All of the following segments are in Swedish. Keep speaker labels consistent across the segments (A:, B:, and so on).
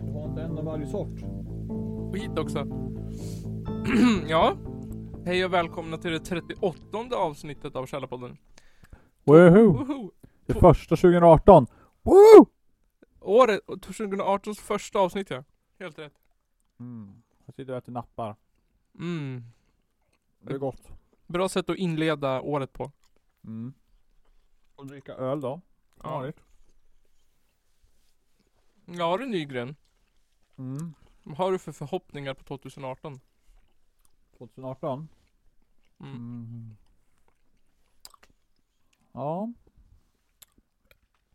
A: Du har inte en av varje sort.
B: Och hit också. ja. Hej och välkomna till det 38 avsnittet av Källarpodden.
A: Woho!
B: Woho!
A: Det första 2018. Woo!
B: Året, 2018s första avsnitt ja. Helt rätt.
A: Mm. Jag sitter och äter nappar.
B: Mm.
A: Det är gott.
B: Bra sätt att inleda året på.
A: Mm. Och dricka öl då. Vanligt.
B: Ja du Nygren.
A: Mm.
B: Vad har du för förhoppningar på 2018?
A: 2018.
B: Mm.
A: Mm. Ja.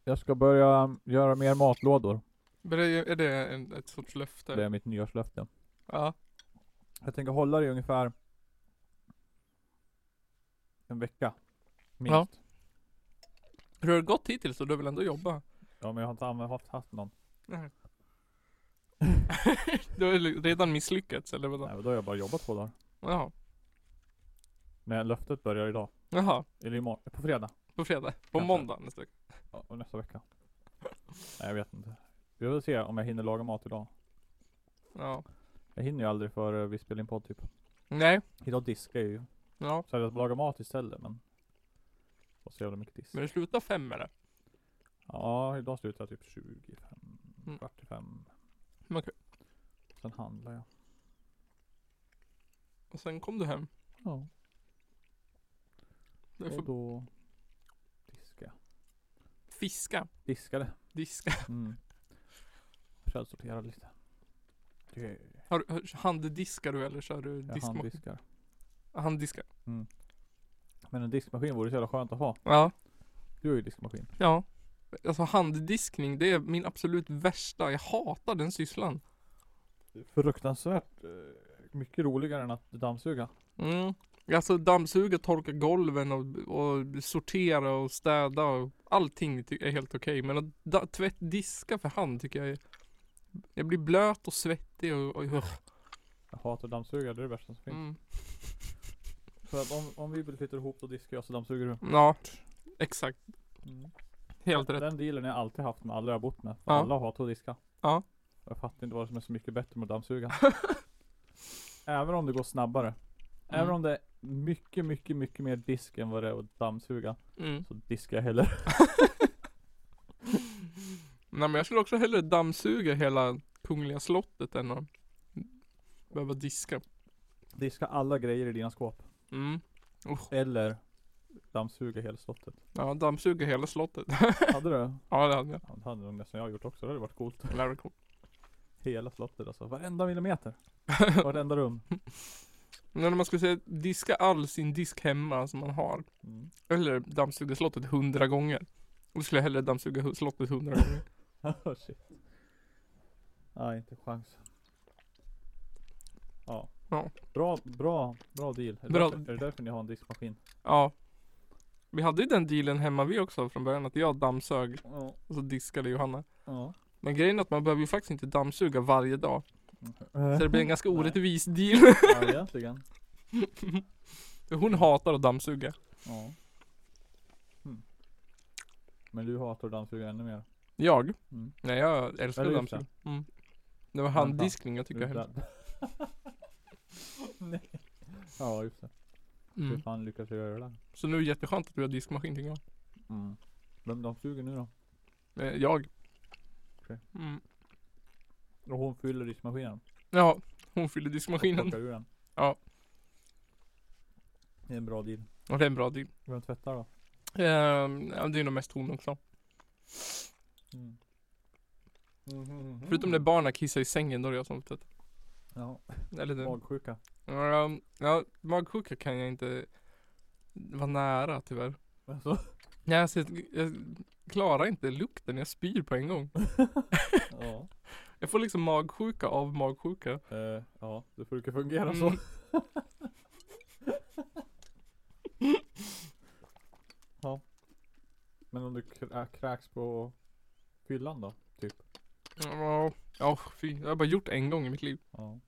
A: Jag ska börja göra mer matlådor.
B: Men det Är är det en, ett sorts löfte?
A: Det är mitt nyårslöfte.
B: Ja.
A: Jag tänker hålla det i ungefär en vecka. Minst.
B: Ja. Hur har det gått hittills då? Du har väl ändå jobbat?
A: Ja, men jag har inte använt, haft, haft någon.
B: Nej. du har ju redan misslyckats eller vadå?
A: Nej, men då har jag bara jobbat två dagar.
B: Jaha.
A: Men löftet börjar idag.
B: Jaha.
A: Eller imorgon. På fredag.
B: På fredag? På
A: Kanske.
B: måndag nästa vecka?
A: Ja, och nästa vecka. Nej, jag vet inte. Vi får se om jag hinner laga mat idag.
B: Ja.
A: Jag hinner ju aldrig för eh, vi spelar in podd typ.
B: Nej.
A: Idag diskar jag ju.
B: Ja.
A: Så jag lagar mat istället men. Och så jävla mycket disk.
B: Men det slutar fem eller?
A: Ja, idag slutar jag typ 25,
B: Mm.
A: kvart i fem.
B: Men okej.
A: Sen handlar jag.
B: Och sen kom du hem.
A: Ja,
B: Du
A: och
B: får
A: då diskar jag.
B: fiska.
A: Diskade.
B: Diska.
A: Mm. Källsorterade lite.
B: Har, du- har, handdiskar du eller kör du
A: Jag
B: diskmaskin?
A: handdiskar.
B: Handdiskar.
A: Men en diskmaskin vore så jävla skönt att ha.
B: Ja.
A: Du har ju diskmaskin.
B: Ja. Alltså handdiskning, det är min absolut värsta. Jag hatar den sysslan.
A: Fruktansvärt eh, mycket roligare än att dammsuga.
B: Mm. Alltså dammsuga, torka golven och, och sortera och städa och allting ty- är helt okej. Men att da- tvätt, diska för hand tycker jag är... Jag blir blöt och svettig och... och ugh.
A: Jag hatar dammsugare, det är det värsta som finns.
B: mm.
A: För att om, om vi flyttar ihop då diskar jag så dammsuger du. Mm.
B: Ja, exakt. Helt rätt.
A: Den dealen har jag alltid haft med alla jag har bott med. För
B: Ja.
A: Alla hatar att diska.
B: Ja.
A: Jag fattar inte vad som är så mycket bättre med att dammsuga. Även om det går snabbare. Även
B: Mm.
A: om det är mycket, mycket, mycket mer disk än vad det är att dammsuga.
B: Mm.
A: Så diskar jag hellre.
B: Nej men jag skulle också hellre dammsuga hela Kungliga slottet än att behöva diska.
A: Diska alla grejer i dina skåp.
B: Mm.
A: Eller dammsuga hela slottet.
B: Ja, dammsuga hela slottet.
A: Hade du?
B: ja det hade jag.
A: Ja, det hade nog nästan jag gjort också. Det hade varit coolt.
B: Det hade varit coolt.
A: Hela slottet alltså. Varenda millimeter. Varenda rum.
B: Men när man skulle säga diska all sin disk hemma som man har.
A: Mm.
B: Eller dammsuga slottet hundra gånger. Då skulle jag hellre dammsuga hu- slottet hundra gånger.
A: Oh, shit. Nej, inte chans. Ja.
B: Ja.
A: Bra, bra, bra deal. Är det,
B: Bra.
A: Därför, är det därför ni har en diskmaskin?
B: Ja. Vi hade ju den dealen hemma vi också från början. Att jag dammsög
A: Ja.
B: och så diskade Johanna.
A: ja.
B: Men grejen är att man behöver ju faktiskt inte dammsuga varje dag. Så det blir en ganska
A: Nej.
B: orättvis deal.
A: ja, egentligen.
B: Hon hatar att dammsuga.
A: Ja. Mm. Men du hatar att dammsuga ännu mer.
B: Jag?
A: Mm.
B: Nej jag älskar
A: Eller
B: dammsugning. Mm. Det var handdiskning jag tycker jag hemskt.
A: Utan- Nej. Ja, just det. Hur
B: Mm.
A: fan lyckas jag göra det?
B: Så nu är det jätteskönt att vi har diskmaskin tycker jag.
A: Mm. Vem dammsuger nu då?
B: Eh, jag.
A: Okej.
B: Mm.
A: Och hon fyller diskmaskinen.
B: Ja, hon fyller
A: och
B: diskmaskinen.
A: Plockar ur den.
B: Ja.
A: Det är en bra deal.
B: Och det är en bra deal.
A: Vem tvättar då?
B: Ehm, ja, det är nog mest hon också.
A: Mm. Mm.
B: Mm-hmm. Förutom när barnen kissar i sängen då är det jag som får tvätta.
A: Ja,
B: Eller det.
A: magsjuka.
B: Ehm, ja, magsjuka kan jag inte vara nära tyvärr.
A: Alltså,
B: Nej, alltså, jag, jag klarar inte lukten, jag spyr på en gång.
A: ja.
B: Jag får liksom magsjuka av magsjuka.
A: Eh, ja, det brukar fungera så.
B: Mm.
A: ja. Men om du krä- äh, kräks på fyllan då? Typ.
B: Ja, ja fy. Jag har bara gjort en gång i mitt liv.
A: Ja.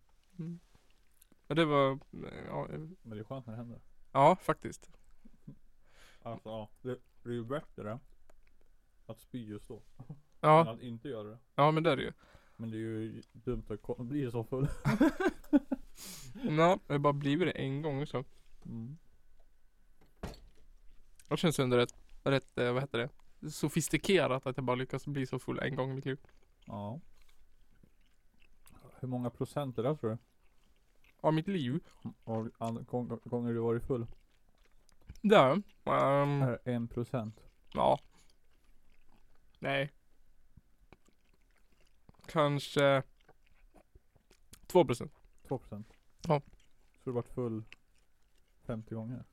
B: Ja, det var, ja,
A: Men det är skönt när det händer.
B: ja faktiskt.
A: Alltså ja, det, det är ju bättre att spy just då. Än
B: Ja,
A: att inte göra det.
B: ja men det är det ju.
A: Men det är ju dumt att ko- bli så full.
B: Nej, jag har bara blivit det en gång också.
A: Mm.
B: Det känns ändå rätt, rätt, eh, vad heter det? Sofistikerat att jag bara lyckas bli så full en gång i mitt liv.
A: Ja. Hur många procent är det tror du?
B: Av mitt liv?
A: Av an- gång- gånger du varit full?
B: Där. Um,
A: Är en procent.
B: ja. Nej. Kanske 2%.
A: Två procent.
B: Ja.
A: Så du har varit full 50 gånger.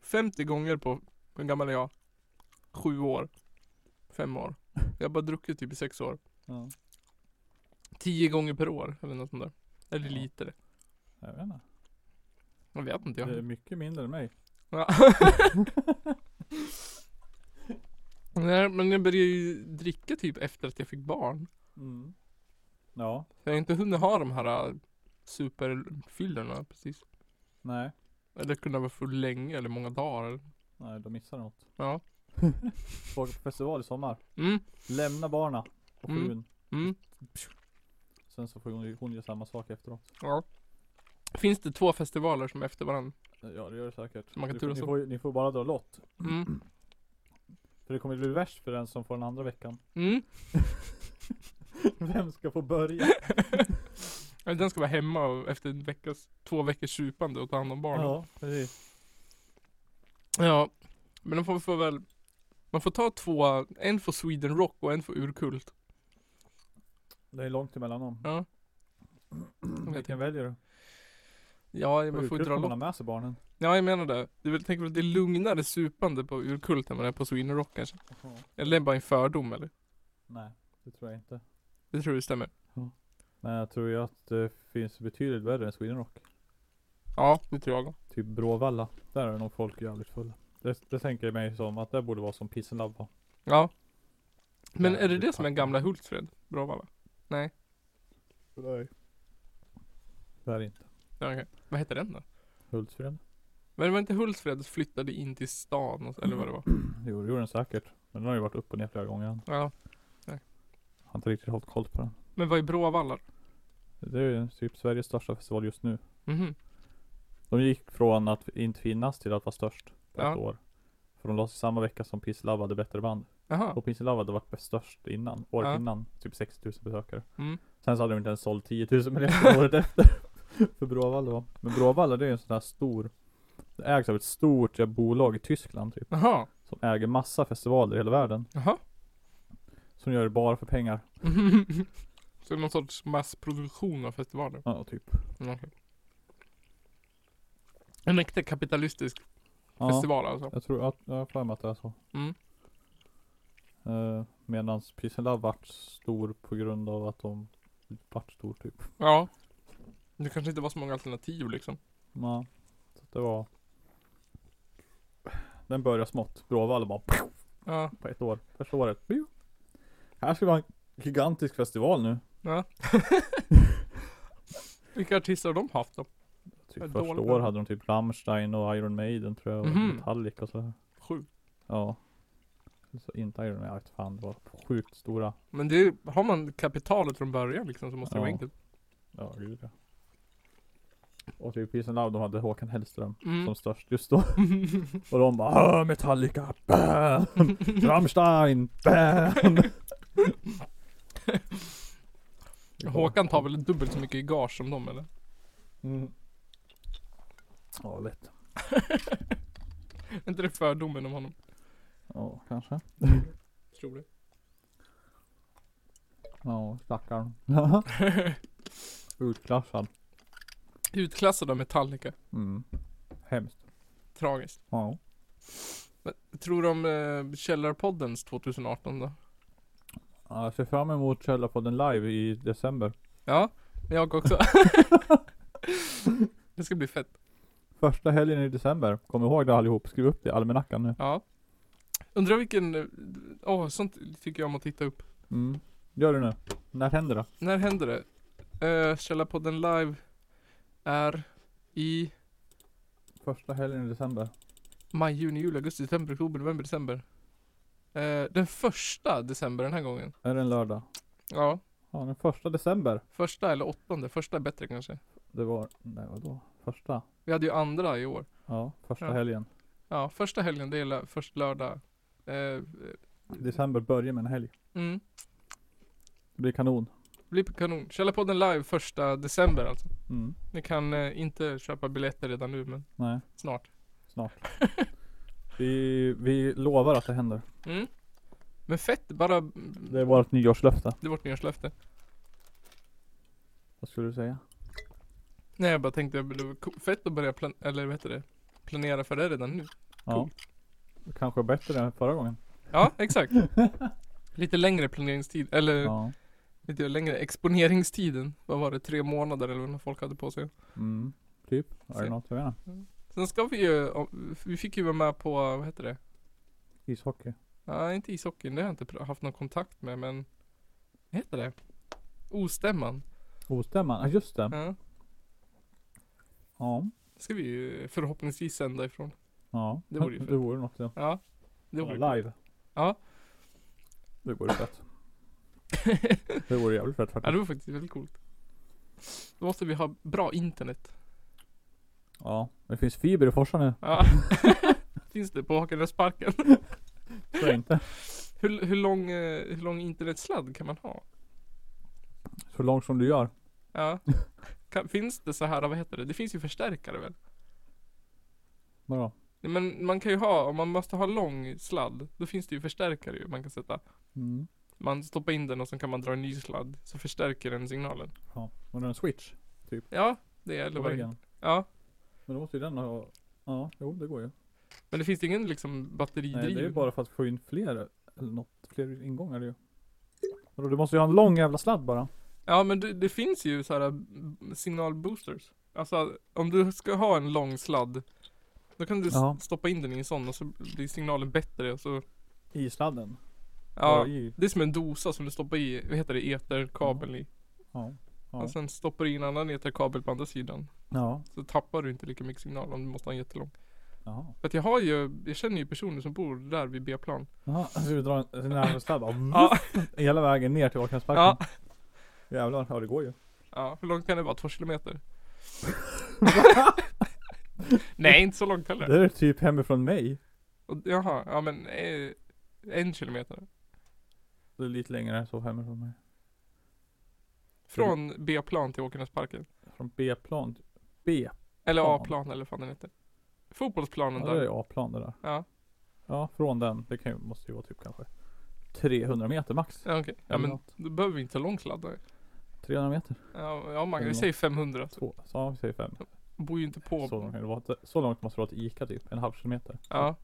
B: 50 gånger på, hur gammal är jag? Sju år. Fem år. Jag har bara druckit typ i sex år.
A: Ja.
B: Tio gånger per år eller något sånt där. Eller
A: Ja.
B: lite.
A: Jag vet inte.
B: Jag vet inte
A: Det är
B: jag.
A: mycket mindre än mig.
B: Ja. Nej men jag började ju dricka typ efter att jag fick barn.
A: Mm. Ja.
B: Så jag har inte hunnit ha de här äh, superfyllorna precis.
A: Nej.
B: Eller kunna vara full länge eller många dagar.
A: Nej, de missar något.
B: Ja.
A: Folk på festival i sommar.
B: Mm,
A: Lämna barna och
B: Mm.
A: frun.
B: mm,
A: Sen så får hon, ju- hon göra samma sak efteråt.
B: ja. Finns det två festivaler som är efter varandra?
A: Ja det gör det säkert.
B: Man kan
A: ni,
B: turas
A: ni,
B: om.
A: får, ju- ni får bara dra lott.
B: Mm,
A: För det kommer bli värst för den som får den andra veckan.
B: mm.
A: Vem ska få börja?
B: Ja, Den ska vara hemma och efter en veckas, två veckors supande och ta hand om barnen.
A: Ja, precis.
B: Ja, men de får, får väl Man får ta två, en för Sweden Rock och en för Urkult
A: Det är långt emellan dem.
B: Ja,
A: Vilken väljer du?
B: ja
A: På
B: man får ju
A: Urkult får
B: dra
A: man
B: lock.
A: ha med sig barnen.
B: Ja jag menar det Du vill tänka på att det är lugnare supande på Urkult än vad det är på Sweden Rock kanske Eller är det bara en fördom eller?
A: Nej, det tror jag inte.
B: Det tror du stämmer?
A: Men jag tror ju att det finns betydligt värre än Sweden Rock.
B: Ja, det tror jag
A: Typ Bråvalla. Där är nog folk jävligt fulla. Det, det tänker jag mig som att det borde vara som Piss and Love var.
B: Ja Men
A: Ja,
B: är det
A: det
B: det som är
A: fattar
B: gamla
A: jag.
B: Hultsfred? Bråvalla?
A: Nej. Det är det inte.
B: Ja, okej. Vad heter den då?
A: Hultsfred?
B: Men det var inte Hultsfred som flyttade in till stan och- eller vad det var?
A: Jo det gjorde den säkert. Men den har ju varit upp och ner flera gånger. Han
B: Ja
A: har inte riktigt hållit koll på den.
B: Men vad är Bråvalla?
A: Det är ju typ Sveriges största festival just nu.
B: Mhm.
A: De gick från att inte finnas till att vara störst på
B: Ja.
A: ett år. För de lades i samma vecka som Peace Love hade bättre band.
B: Jaha
A: Och Peace Love hade varit störst innan, året
B: Ja.
A: innan. Typ 60 000 besökare.
B: Mm.
A: Sen så hade de inte ens sålt 10 000 biljetter året efter. För Bråvalla då. Men Bråvalla det är ju en sån här stor Det ägs av ett stort jävla bolag i Tyskland typ.
B: Jaha
A: Som äger massa festivaler i hela världen.
B: Jaha
A: Som gör det bara för pengar.
B: Så någon sorts massproduktion av festivaler?
A: Ja typ.
B: Mm, okej. En äkta kapitalistisk
A: Ja,
B: festival alltså?
A: Jag tror, jag, jag har för mig att det är så.
B: Mm.
A: Uh, Medan Peace and Love vart stor på grund av att de vart stor typ.
B: Ja. Det kanske inte var så många alternativ liksom.
A: Ja, så det var Den börjar smått, Bråvalla bara pow,
B: Ja.
A: på ett år, första året Pew. Här ska vi ha en gigantisk festival nu
B: ja. Vilka artister har de haft då?
A: typ
B: Vad
A: Första
B: dåligt.
A: år hade de typ Rammstein och Iron Maiden tror jag och
B: Mhm.
A: Metallica och sådär
B: Sju.
A: Ja så inte Iron Maiden, jag vet fan det var sjukt stora
B: Men det är, har man kapitalet från början liksom så måste det vara
A: Ja.
B: enkelt.
A: Ja gud ja Och typ Peace and Love, de hade Håkan Hellström
B: Mm.
A: som störst just då Och de bara "Ah, Metallica, bam! Rammstein, bam!
B: Håkan tar väl dubbelt så mycket i gage som dem eller?
A: Mm. Ja, lätt.
B: Är inte det fördomen om honom?
A: Ja, kanske.
B: Tror det.
A: Ja, stackarn. Utklassad.
B: Utklassad av Metallica.
A: Mm. Hemskt.
B: Tragiskt.
A: Ja.
B: Tror du om eh, Källarpoddens 2018 då?
A: Ja, Jag ser fram emot Källarpodden live i december.
B: Ja, jag också. det ska bli fett.
A: Första helgen i december. Kom ihåg det allihop. Skriv upp det i almanackan nu.
B: Ja. Undrar vilken, eh, åh sånt tycker jag om att titta upp.
A: Mm. Gör det nu. När händer det?
B: När händer det? Eh, Källarpodden live är i
A: Första helgen i december.
B: maj, juni, juli, augusti, september, oktober, november, december. Eh, den första december den här gången.
A: Är det en lördag?
B: Ja,
A: Ja, den första december.
B: första eller åttonde. Första är bättre kanske.
A: Det var, nej vadå? Första?
B: Vi hade ju andra i år.
A: Ja, första
B: Ja.
A: helgen.
B: Ja, första helgen, det är lö- först lördag. Eh,
A: December börjar med en helg.
B: mm.
A: Det blir kanon.
B: Blir kanon. Källarpodden live första december alltså.
A: Mm.
B: Ni kan eh, inte köpa biljetter redan nu, men
A: Nej,
B: snart.
A: snart. vi, vi lovar att det händer.
B: Mm. Men fett, bara
A: Det är vårt nyårslöfte.
B: det är vårt nyårslöfte.
A: Vad skulle du säga?
B: Nej, jag bara tänkte, det var ko- fett att börja plan- eller vad heter det? planera för det redan nu.
A: Ja. Kanske bättre än förra gången.
B: Ja, exakt. Lite längre planeringstid, eller
A: Ja.
B: lite längre exponeringstiden. Vad var det, tre månader eller vad folk hade på sig.
A: Mm. Typ. Är det
B: Se.
A: något? Jag vet inte.
B: Sen ska vi ju, vi fick ju vara med på, vad heter det?
A: Ishockey.
B: Nej, inte ishockeyn. Det har jag inte pr- haft någon kontakt med, men vad heter det? Ostämman.
A: Ostämman. Ja, just det.
B: Ja.
A: Ja.
B: Det ska vi ju förhoppningsvis sända ifrån.
A: Ja.
B: Det vore ju
A: det vore något ja.
B: Ja. Det vore
A: ja, live.
B: Ja.
A: Det vore fett. det vore jävligt fett
B: Ja,
A: faktiskt.
B: det var faktiskt väldigt coolt. Då måste vi ha bra internet.
A: Ja. Det finns fiber i Forsa nu.
B: Ja. Finns det på Hakenäsparken?
A: Tror jag inte.
B: Hur, hur, lång, eh, hur lång internetsladd kan man ha?
A: Så långt som du gör.
B: Ja. Kan, finns det så här, vad heter det? Det finns ju förstärkare väl?
A: Vadå?
B: Nej, Men man kan ju ha, om man måste ha lång sladd, då finns det ju förstärkare ju man kan sätta.
A: Mm.
B: Man stoppar in den och sen kan man dra en ny sladd, så förstärker den signalen.
A: Ja. Var det en switch?
B: Ja, det är
A: På
B: eller vad det
A: väggen?
B: Ja,
A: Men då måste ju den ha... Ja, jo det går ju.
B: men det finns ingen liksom batteridriv.
A: Nej, det är ju bara för att få in fler, eller något, fler ingångar ju. Vadå, Du måste ju ha en lång jävla sladd bara.
B: Ja, men det, det finns ju så här b- signalboosters. Alltså, om du ska ha en lång sladd, då kan du s-
A: Jaha.
B: stoppa in den i en sån och så blir signalen bättre och så,
A: I sladden?
B: ja.
A: I,
B: Det är som en dosa som du stoppar i, vad heter det, eterkabel i.
A: ja. Ja.
B: Och sen stoppar du in en annan eterkabel på andra sidan.
A: Ja.
B: Så tappar du inte lika mycket signal om du måste ha en jättelång.
A: Jaha.
B: För att jag har ju, jag känner ju personer som bor där vid B-plan.
A: Jaha. Så du drar en sån här sladd bara,
B: Ja,
A: hela vägen ner till
B: ja,
A: Åkensparken? Ja. Jävlar, ja det går ju.
B: ja. Hur långt kan det vara? Två kilometer? Nej, inte så långt heller.
A: Det är typ hemifrån mig.
B: Och, jaha, ja men eh, en kilometer.
A: Det är lite längre än så hemifrån mig.
B: Från B-plan till Åkernäsparken.
A: Från B-plan till B?
B: Eller
A: Fan.
B: A-plan eller vad fan den heter. Fotbollsplanen
A: Ja, det
B: där.
A: är A-plan det där.
B: Ja,
A: Ja, från den. Det kan ju, måste ju vara typ kanske 300 meter max.
B: ja okej. Ja
A: Eller
B: men
A: något.
B: då behöver vi inte lång sladd där.
A: 300 meter?
B: Ja, ja Mange,
A: Eller
B: vi
A: något.
B: säger 500.
A: Två. Så, ja, vi säger fem.
B: Bor ju inte på.
A: Så långt, kan det vara. så långt måste det vara till Ica typ, en halv kilometer.
B: Ja.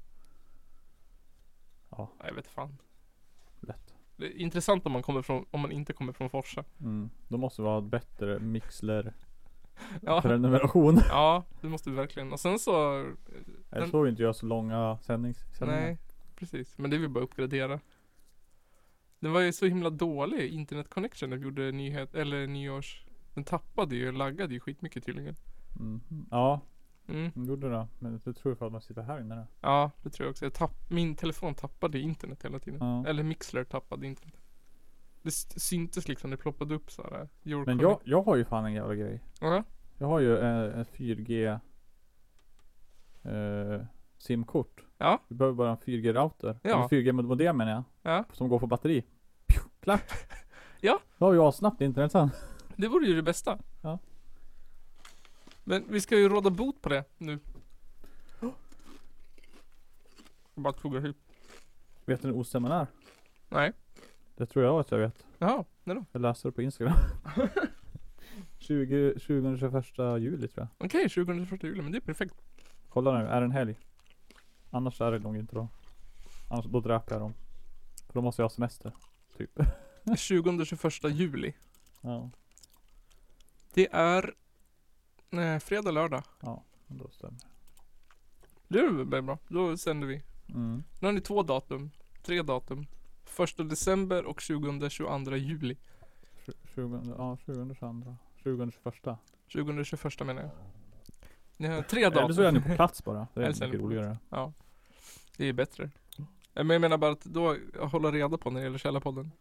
A: Ja.
B: Jag vet fan.
A: Lätt.
B: Det är intressant om man kommer från, om man inte kommer från Forsa.
A: Mm. Då måste vi ha ett bättre mixler
B: Ja,
A: prenumeration.
B: ja det måste vi verkligen. Och sen så,
A: Eller så får vi inte göra så långa sändnings sändningar.
B: nej. Precis, men det vill bara uppgradera. Den var ju så himla dålig, internet connection, när vi gjorde nyhet, eller nyårs... Den tappade ju, laggade ju skitmycket tydligen.
A: Mm. Ja,
B: Mm.
A: de gjorde det. Men det tror jag för att man sitter här inne. då.
B: Ja, det tror jag också. Jag tapp, min telefon tappade internet hela tiden.
A: Ja.
B: Eller Mixler tappade internet. Det s- syntes liksom, det ploppade upp så här. your
A: Men jag,
B: connect-
A: jag har ju fan en jävla grej.
B: Ja,
A: Jag har ju eh, en 4G eh, simkort.
B: Ja.
A: Du behöver bara en 4G-router.
B: Ja.
A: Eller 4G-modem menar jag.
B: ja.
A: Som går på batteri. Pju, klart.
B: Ja.
A: Då har jag snabbt internet sen.
B: Det vore ju det bästa.
A: Ja.
B: Men vi ska ju råda bot på det nu. Jag bara tog ihop.
A: Vet du hur ostämman är?
B: Nej.
A: Det tror jag att jag vet.
B: Jaha, nej då.
A: Jag läste det på Instagram. 20, 20 21 juli tror jag.
B: Okej, 2021 juli, men det är perfekt.
A: Kolla nu, är det en helg? Annars är det nog inte då. Annars då dräper jag dem. För då måste jag ha semester. Typ.
B: 20-21 juli.
A: Ja,
B: Det är eh, fredag, lördag.
A: men då stämmer
B: Det är väl bra. Då sänder vi.
A: det. mm.
B: Nu har ni två datum. Tre datum. 1 december och 20-22 juli.
A: 20, ja, 2022. 2021.
B: 2021 menar jag. Ni har tre
A: Eller så är
B: datum.
A: ni på plats bara. Det är
B: Eller så är
A: mycket
B: ni på plats.
A: roligare.
B: Ja. Det är bättre. Eh, Men jag menar bara att då hålla reda på när det gäller Källarpodden.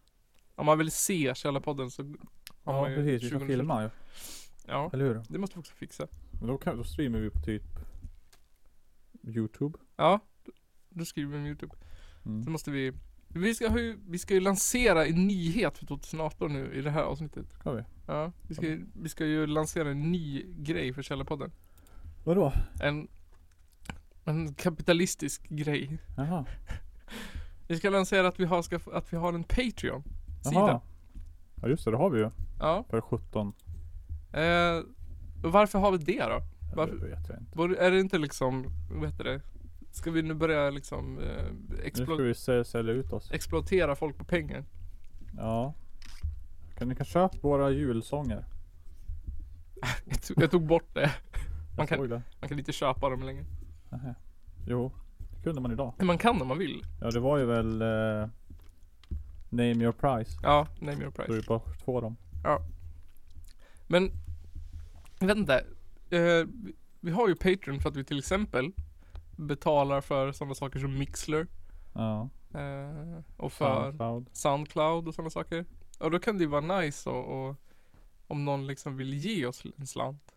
B: Om man vill se Källarpodden så har
A: Ja
B: man ju
A: precis, vi kan
B: 2020.
A: filma ju.
B: Ja,
A: Eller hur?
B: det måste vi också fixa.
A: Men då, kan, då streamar vi på typ Youtube.
B: Ja, då skriver vi med Youtube.
A: Mm.
B: Så måste vi vi ska, ju, vi ska ju lansera en nyhet för 2018 nu i det här avsnittet.
A: Ska vi?
B: Ja, vi ska, ju- vi ska ju lansera en ny grej för Källarpodden.
A: Vadå?
B: En, en kapitalistisk grej.
A: Jaha.
B: Vi ska lansera att vi har, ska, att vi har en Patreon-sida.
A: Jaha. Ja just det, det har vi ju.
B: Ja.
A: För 17.
B: Eh, och varför har vi det då? Varför-
A: Det vet jag inte.
B: Borde- Är det inte liksom, vad heter det? Ska vi nu börja liksom eh,
A: Nu ska
B: explo-
A: vi sä- sälja ut oss.
B: exploatera folk på pengar?
A: Ja. Kan ni kan köpa våra julsånger.
B: Jag tog, jag tog bort det.
A: Jag
B: Man kan-
A: såg det.
B: Man kan inte köpa dem längre.
A: Nähä. Jo, det kunde man idag.
B: Men man kan om man vill.
A: Ja det var ju väl eh, Name your price.
B: Ja, name your
A: Så
B: price.
A: vi bara två dem.
B: Men, jag vet inte. Eh, vi- vi har ju Patreon för att vi till exempel betalar för sådana saker som Mixler
A: Ja.
B: eh, och för
A: Soundcloud.
B: Soundcloud och sådana saker. Och då kan det ju vara nice och, och om någon liksom vill ge oss en slant.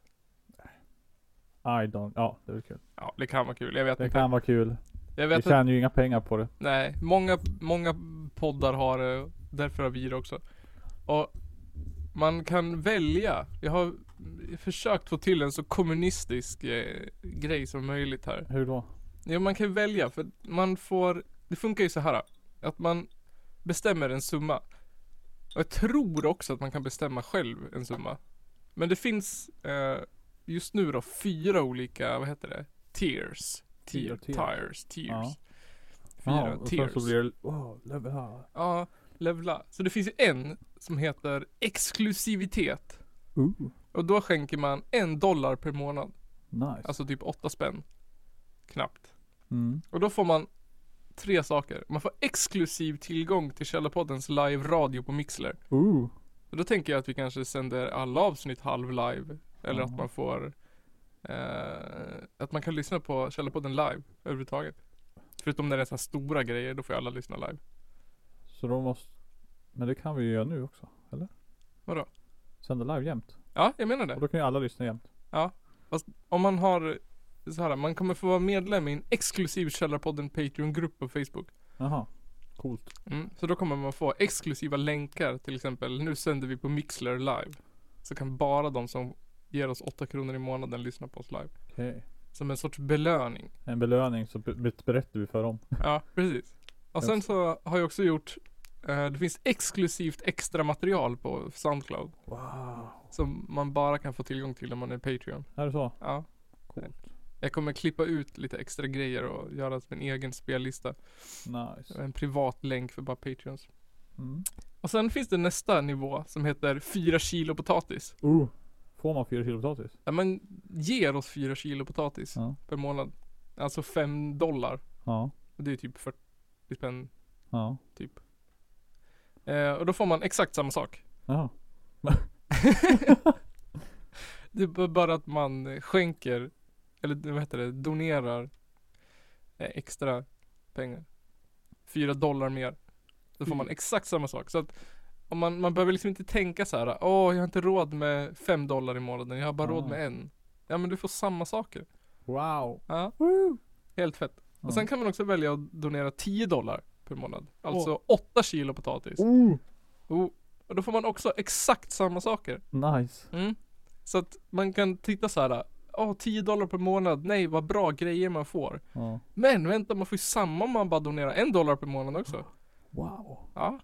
A: I don't. Ja det är väl kul.
B: Ja, det kan vara kul. Jag vet
A: Det
B: inte.
A: kan vara kul.
B: Jag
A: Vi
B: vet att,
A: tjänar ju inga pengar på det.
B: nej, många, många poddar har det. Därför har vi det också. Och man kan välja. Jag har försökt få till en så kommunistisk eh, grej som möjligt här.
A: Hur då?
B: Jo, man kan ju välja för man får, det funkar ju så här att man bestämmer en summa. Och jag tror också att man kan bestämma själv en summa. Men det finns eh, just nu då fyra olika, vad heter det? Tiers. Tier,
A: Fyra tiers.
B: tires, tiers.
A: Ja.
B: Fyra
A: och sen
B: tiers.
A: så blir det, wow, level up.
B: Ja, levla. Så det finns ju en som heter exklusivitet.
A: Ooh,
B: Och då skänker man en dollar per månad.
A: nice.
B: Alltså typ åtta spänn. Knappt.
A: mm.
B: Och då får man tre saker. Man får exklusiv tillgång till Källarpoddens live-radio på Mixler.
A: Ooh,
B: Och då tänker jag att vi kanske sänder alla avsnitt halv live. Eller att
A: Ja.
B: man får eh, Att man kan lyssna på Källarpodden live överhuvudtaget. Förutom när det är så här stora grejer, då får ju alla lyssna live.
A: så då måste, men det kan vi ju göra nu också, eller?
B: Vadå? Äh.
A: Sända live jämt.
B: Ja, jag menar
A: Och
B: det.
A: då kan ju alla lyssna jämt.
B: Om man har så här, man kommer få vara medlem i en exklusiv Källarpodden Patreon-grupp på Facebook.
A: Jaha, coolt.
B: Mm, så då kommer man få exklusiva länkar till exempel. Nu sänder vi på Mixler live. Så kan bara de som ger oss 8 kronor i månaden lyssna på oss live.
A: Okej.
B: Som en sorts belöning.
A: En belöning så be- be- berättar vi för dem.
B: Ja, precis. Och sen så har jag också gjort eh, det finns exklusivt extra material på Soundcloud
A: Wow.
B: som man bara kan få tillgång till om man är Patreon.
A: Är det så?
B: Ja.
A: Coolt.
B: Jag kommer klippa ut lite extra grejer och göra min egen spellista.
A: Nice.
B: En privat länk för bara Patreons.
A: Mm.
B: Och sen finns det nästa nivå som heter 4 kilo potatis.
A: Ooh. Får man fyra kilo potatis?
B: Ja, men ger oss 4 kilo potatis
A: Ja.
B: per månad. Alltså 5 dollar.
A: Ja.
B: Och Det är typ 40 spänn.
A: Ja.
B: Eh, och då får man exakt samma sak.
A: Jaha.
B: Det är b- bara att man skänker, eller vad heter det, donerar eh, extra pengar. 4 dollar mer. Då får man
A: Mm.
B: exakt samma sak. Så att om man, man behöver liksom inte tänka så här. Åh, jag har inte råd med 5 dollar i månaden. Jag har bara råd
A: Ah.
B: med en. Ja, men du får samma saker.
A: Wow.
B: Ja,
A: Woo.
B: helt fett.
A: Ja.
B: Och sen kan man också välja att donera 10 dollar per månad. Alltså
A: Åh.
B: 8 kilo potatis.
A: Ooh.
B: Oh. Och då får man också exakt samma saker.
A: Nice.
B: Mm. Så att man kan titta så här. Åh, 10 dollar per månad. Nej, vad bra grejer man får.
A: Ja.
B: Men vänta, man får ju samma om man bara donerar 1 dollar per månad också.
A: Wow.
B: Ja.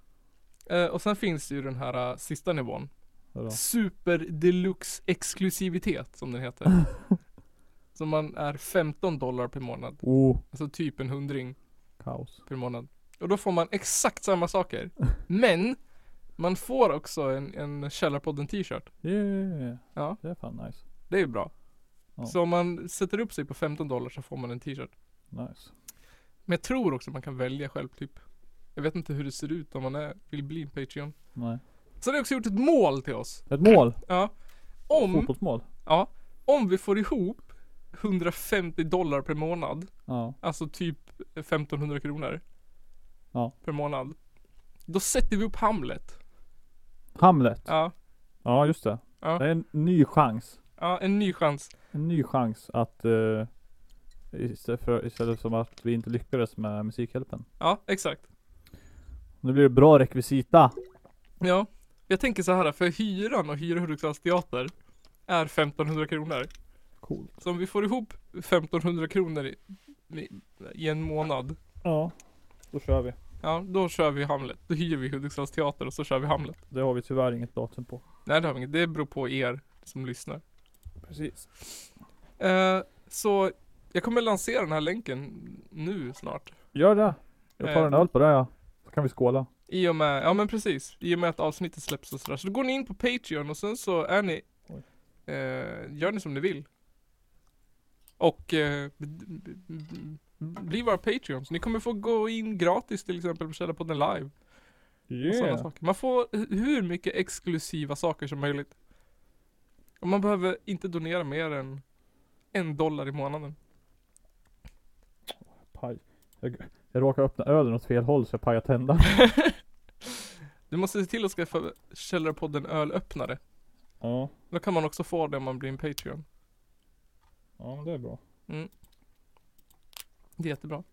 B: Eh, och sen finns det ju den här eh, sista nivån.
A: Vadå?
B: Super deluxe exklusivitet som den heter. Som man är 15 dollar per månad.
A: Oh.
B: Alltså typ en hundring.
A: Kaos.
B: per månad. Och då får man exakt samma saker. Men man får också en, en Källarpodden t-shirt.
A: Yeah.
B: Ja.
A: Det är fan nice.
B: Det är ju bra.
A: Ja.
B: Så om man sätter upp sig på 15 dollar så får man en t-shirt.
A: Nice.
B: Men jag tror också man kan välja själv typ. Jag vet inte hur det ser ut om man är, vill bli en Patreon.
A: Nej.
B: Sen har jag också gjort ett mål till oss.
A: Ett mål.
B: Ja. Om,
A: Fotbollsmål.
B: ja, om vi får ihop 150 dollar per månad.
A: Ja.
B: Alltså typ 1500 kronor.
A: Ja.
B: Per månad. Då sätter vi upp Hamlet.
A: Hamlet. Ja,
B: Ja,
A: just det.
B: Ja.
A: Det är en ny chans.
B: ja, en ny chans.
A: En ny chans att eh, istället, för, istället som att vi inte lyckades med Musikhjälpen.
B: Ja, exakt.
A: Nu blir det bra rekvisita.
B: Ja, jag tänker så här, för hyran och hyra Hudiksvalls teater är 1500 kronor.
A: Coolt.
B: Så om vi får ihop 1500 kronor i, i- i en månad,
A: Ja, då kör vi.
B: ja då kör vi Hamlet. Då hyr vi Hudiksvalls teater och så kör vi Hamlet.
A: Det har vi tyvärr inget datum på.
B: Nej det har vi inget, det beror på er som lyssnar.
A: Precis.
B: Eh, så jag kommer lansera den här länken nu snart.
A: Gör det. Jag tar
B: Eh.
A: en öl på det ja. Så kan vi skåla.
B: I och med, ja men precis, i och med att avsnittet släpps och sådär. Så då går ni in på Patreon och sen så är ni,
A: Oj.
B: eh, gör ni som ni vill. Och eh, b- b- b- bli våra Patreons. Ni kommer få gå in gratis till exempel på Källarpodden live. Och sådana saker. Man får hu- hur mycket exklusiva saker som möjligt. Och man behöver inte donera mer än en dollar i månaden.
A: Paj. Jag, jag råkade öppna ölen åt fel håll så jag pajade tända.
B: Du måste se till att skaffa Källarpodden ölöppnare.
A: ja.
B: Då kan man också få det om man blir en Patreon.
A: Ja men det är bra.
B: Det är jättebra.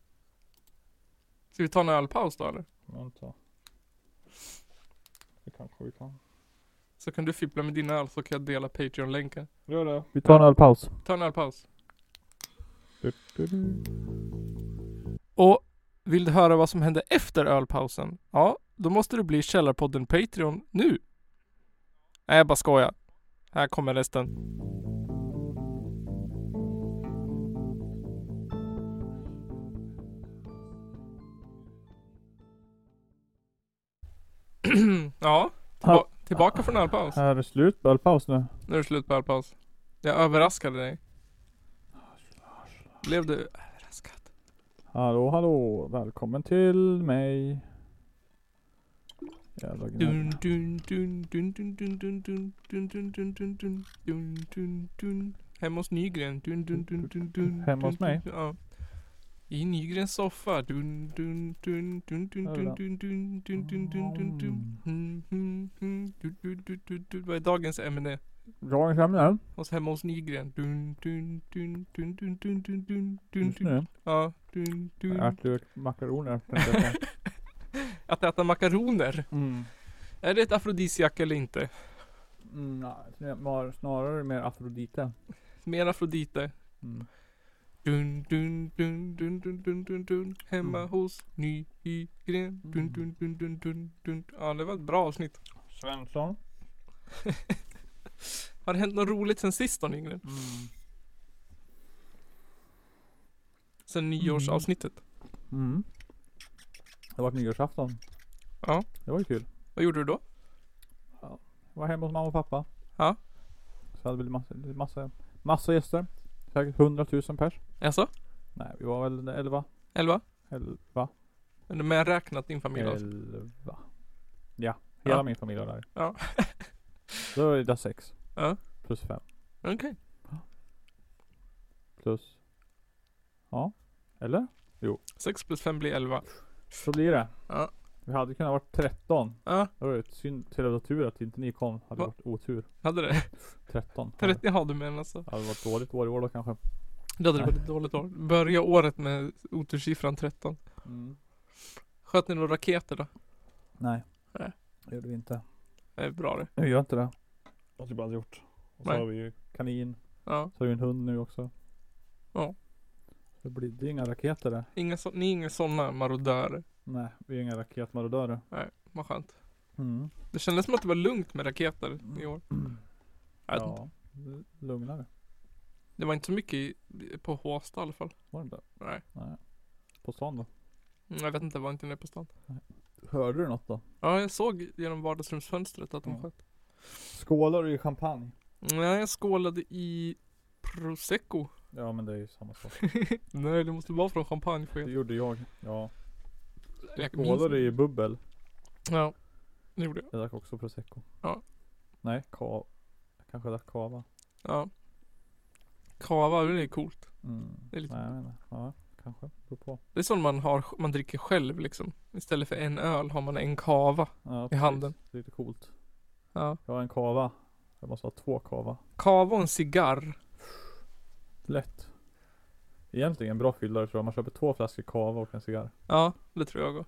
B: Ska vi ta en ölpaus då eller?
A: Vänta. Det kanske vi kan.
B: Så kan du fippla med din öl så kan jag dela Patreon-länken.
A: Gör det. Vi tar en ölpaus.
B: Ta en ölpaus. Och vill du höra vad som hände efter ölpausen? Ja, då måste du bli Källarpodden Patreon nu. Nej, jag bara skojar. Här kommer resten. ja, tillba- tillbaka från ölpaus.
A: Här är det slut på ölpaus nu.
B: Nu är det slut på ölpaus. Jag överraskade dig. Blev du överraskad?
A: Hallå hallå. Välkommen till mig. Jävla gnäll.
B: Dun, dun, dun, dun, dun, dun, dun, dun, dun, dun, dun, dun, dun, dun, dun, dun. Hemma hos Nygren. Dun, dun, dun, dun, dun,
A: Hemma hos
B: dun,
A: mig?
B: dun, Ja. I Nygrens soffa. Dun, dun, dun, dun, dun,
A: Där är
B: dun,
A: den.
B: dun, dun, dun, dun, dun, dun, dun. Mm, mm, mm. Dun, dun, dun, dun, dun. Vad är dagens ämne?
A: Dagens ämne.
B: Hos hemma hos Nygren. Dun, dun, dun, dun, dun, dun, dun, dun, dun,
A: Just
B: dun.
A: nu.
B: Ja. Dun, dun.
A: Ärtlök, makaroner. tänkte jag på.
B: Att äta makaroner,
A: Mm.
B: är det ett afrodisiak eller inte?
A: Mm, nej, snar- snarare mer afrodite.
B: Mer afrodite.
A: Mm.
B: Dun, dun, dun, dun, dun, dun, dun, dun. Hemma
A: Mm.
B: hos Nygren. Dun,
A: Mm.
B: dun, dun, dun, dun, dun. Ja, det var ett bra avsnitt.
A: Svensson.
B: Har det hänt något roligt sen sist då Nygren?
A: Mm.
B: Sen nyårsavsnittet?
A: Mm. Det var nyårsafton.
B: Ja.
A: Det var ju kul.
B: Vad gjorde du då?
A: Jag var hemma hos mamma och pappa.
B: Ja.
A: Så hade vi massa, massa, massa gäster. Säkert 100 000 pers.
B: Alltså?
A: Nej, vi var väl 11.
B: Elva?
A: 11.
B: Är det medräknat din familj alltså?
A: 11. Ja, hela
B: Ja.
A: min familj var där.
B: Ja.
A: Då är det 6.
B: Ja.
A: Plus 5.
B: Okej.
A: Plus. Ja. Eller?
B: Sex plus fem blir elva.
A: Så blir det.
B: Ja.
A: Vi hade kunnat varit 13.
B: Ja,
A: Det var ju ett synd. Till och med tur att inte ni kom. Hade
B: Va?
A: varit otur.
B: hade det?
A: 13. Hade,
B: 30 hade du men alltså.
A: hade varit dåligt år i år då kanske.
B: Det hade varit ett dåligt år. Börja året med otursiffran 13.
A: Mm.
B: Sköt ni några raketer då?
A: Nej.
B: Nej.
A: Det gjorde vi inte.
B: Det är bra det.
A: Nu gör inte det. Det har vi bara gjort. Och så
B: Nej.
A: har vi ju kanin.
B: Ja.
A: Så har vi en hund nu också.
B: Ja.
A: Det blir det är inga raketer där.
B: Inga så, ni är inga sådana marodörer.
A: Nej, vi är inga raketmarodörer.
B: Vad skönt.
A: Mm.
B: Det kändes som att det var lugnt med raketer i år. Jag vet
A: Ja.
B: inte.
A: Lugnare.
B: Det var inte så mycket i- på Håsta i alla fall.
A: Var det inte?
B: Nej.
A: Nej. På stan då?
B: Mm, Jag vet inte, jag var inte nere på stan.
A: Hörde du något då?
B: Ja, jag såg genom vardagsrumsfönstret att de
A: Ja.
B: sköt.
A: Skålar du i champagne?
B: Nej, jag skålade i prosecco.
A: Ja men det är ju samma sak.
B: Nej, det måste vara från champagne. För
A: Det
B: jag,
A: gjorde jag. Ja.
B: jag minns
A: Skålar du
B: inte.
A: i bubbel?
B: Ja, det gjorde jag.
A: Jag drack också prosecco.
B: Ja.
A: Nej, kava. Jag kanske drack kava.
B: Ja. Kava, det är coolt.
A: Mm.
B: Det är lite-
A: Nej, jag vet inte. Ja, kanske. Beror på.
B: Det är sånt man har, man dricker själv liksom. Istället för en öl har man en kava.
A: Ja,
B: I handen.
A: precis. Lite coolt.
B: Ja.
A: Jag har en kava. Jag måste ha två kava.
B: Kava och en cigarr.
A: Lätt. Egentligen en bra fyllare tror jag. Man köper två flaskor kava och en cigarr.
B: Ja, det tror jag går.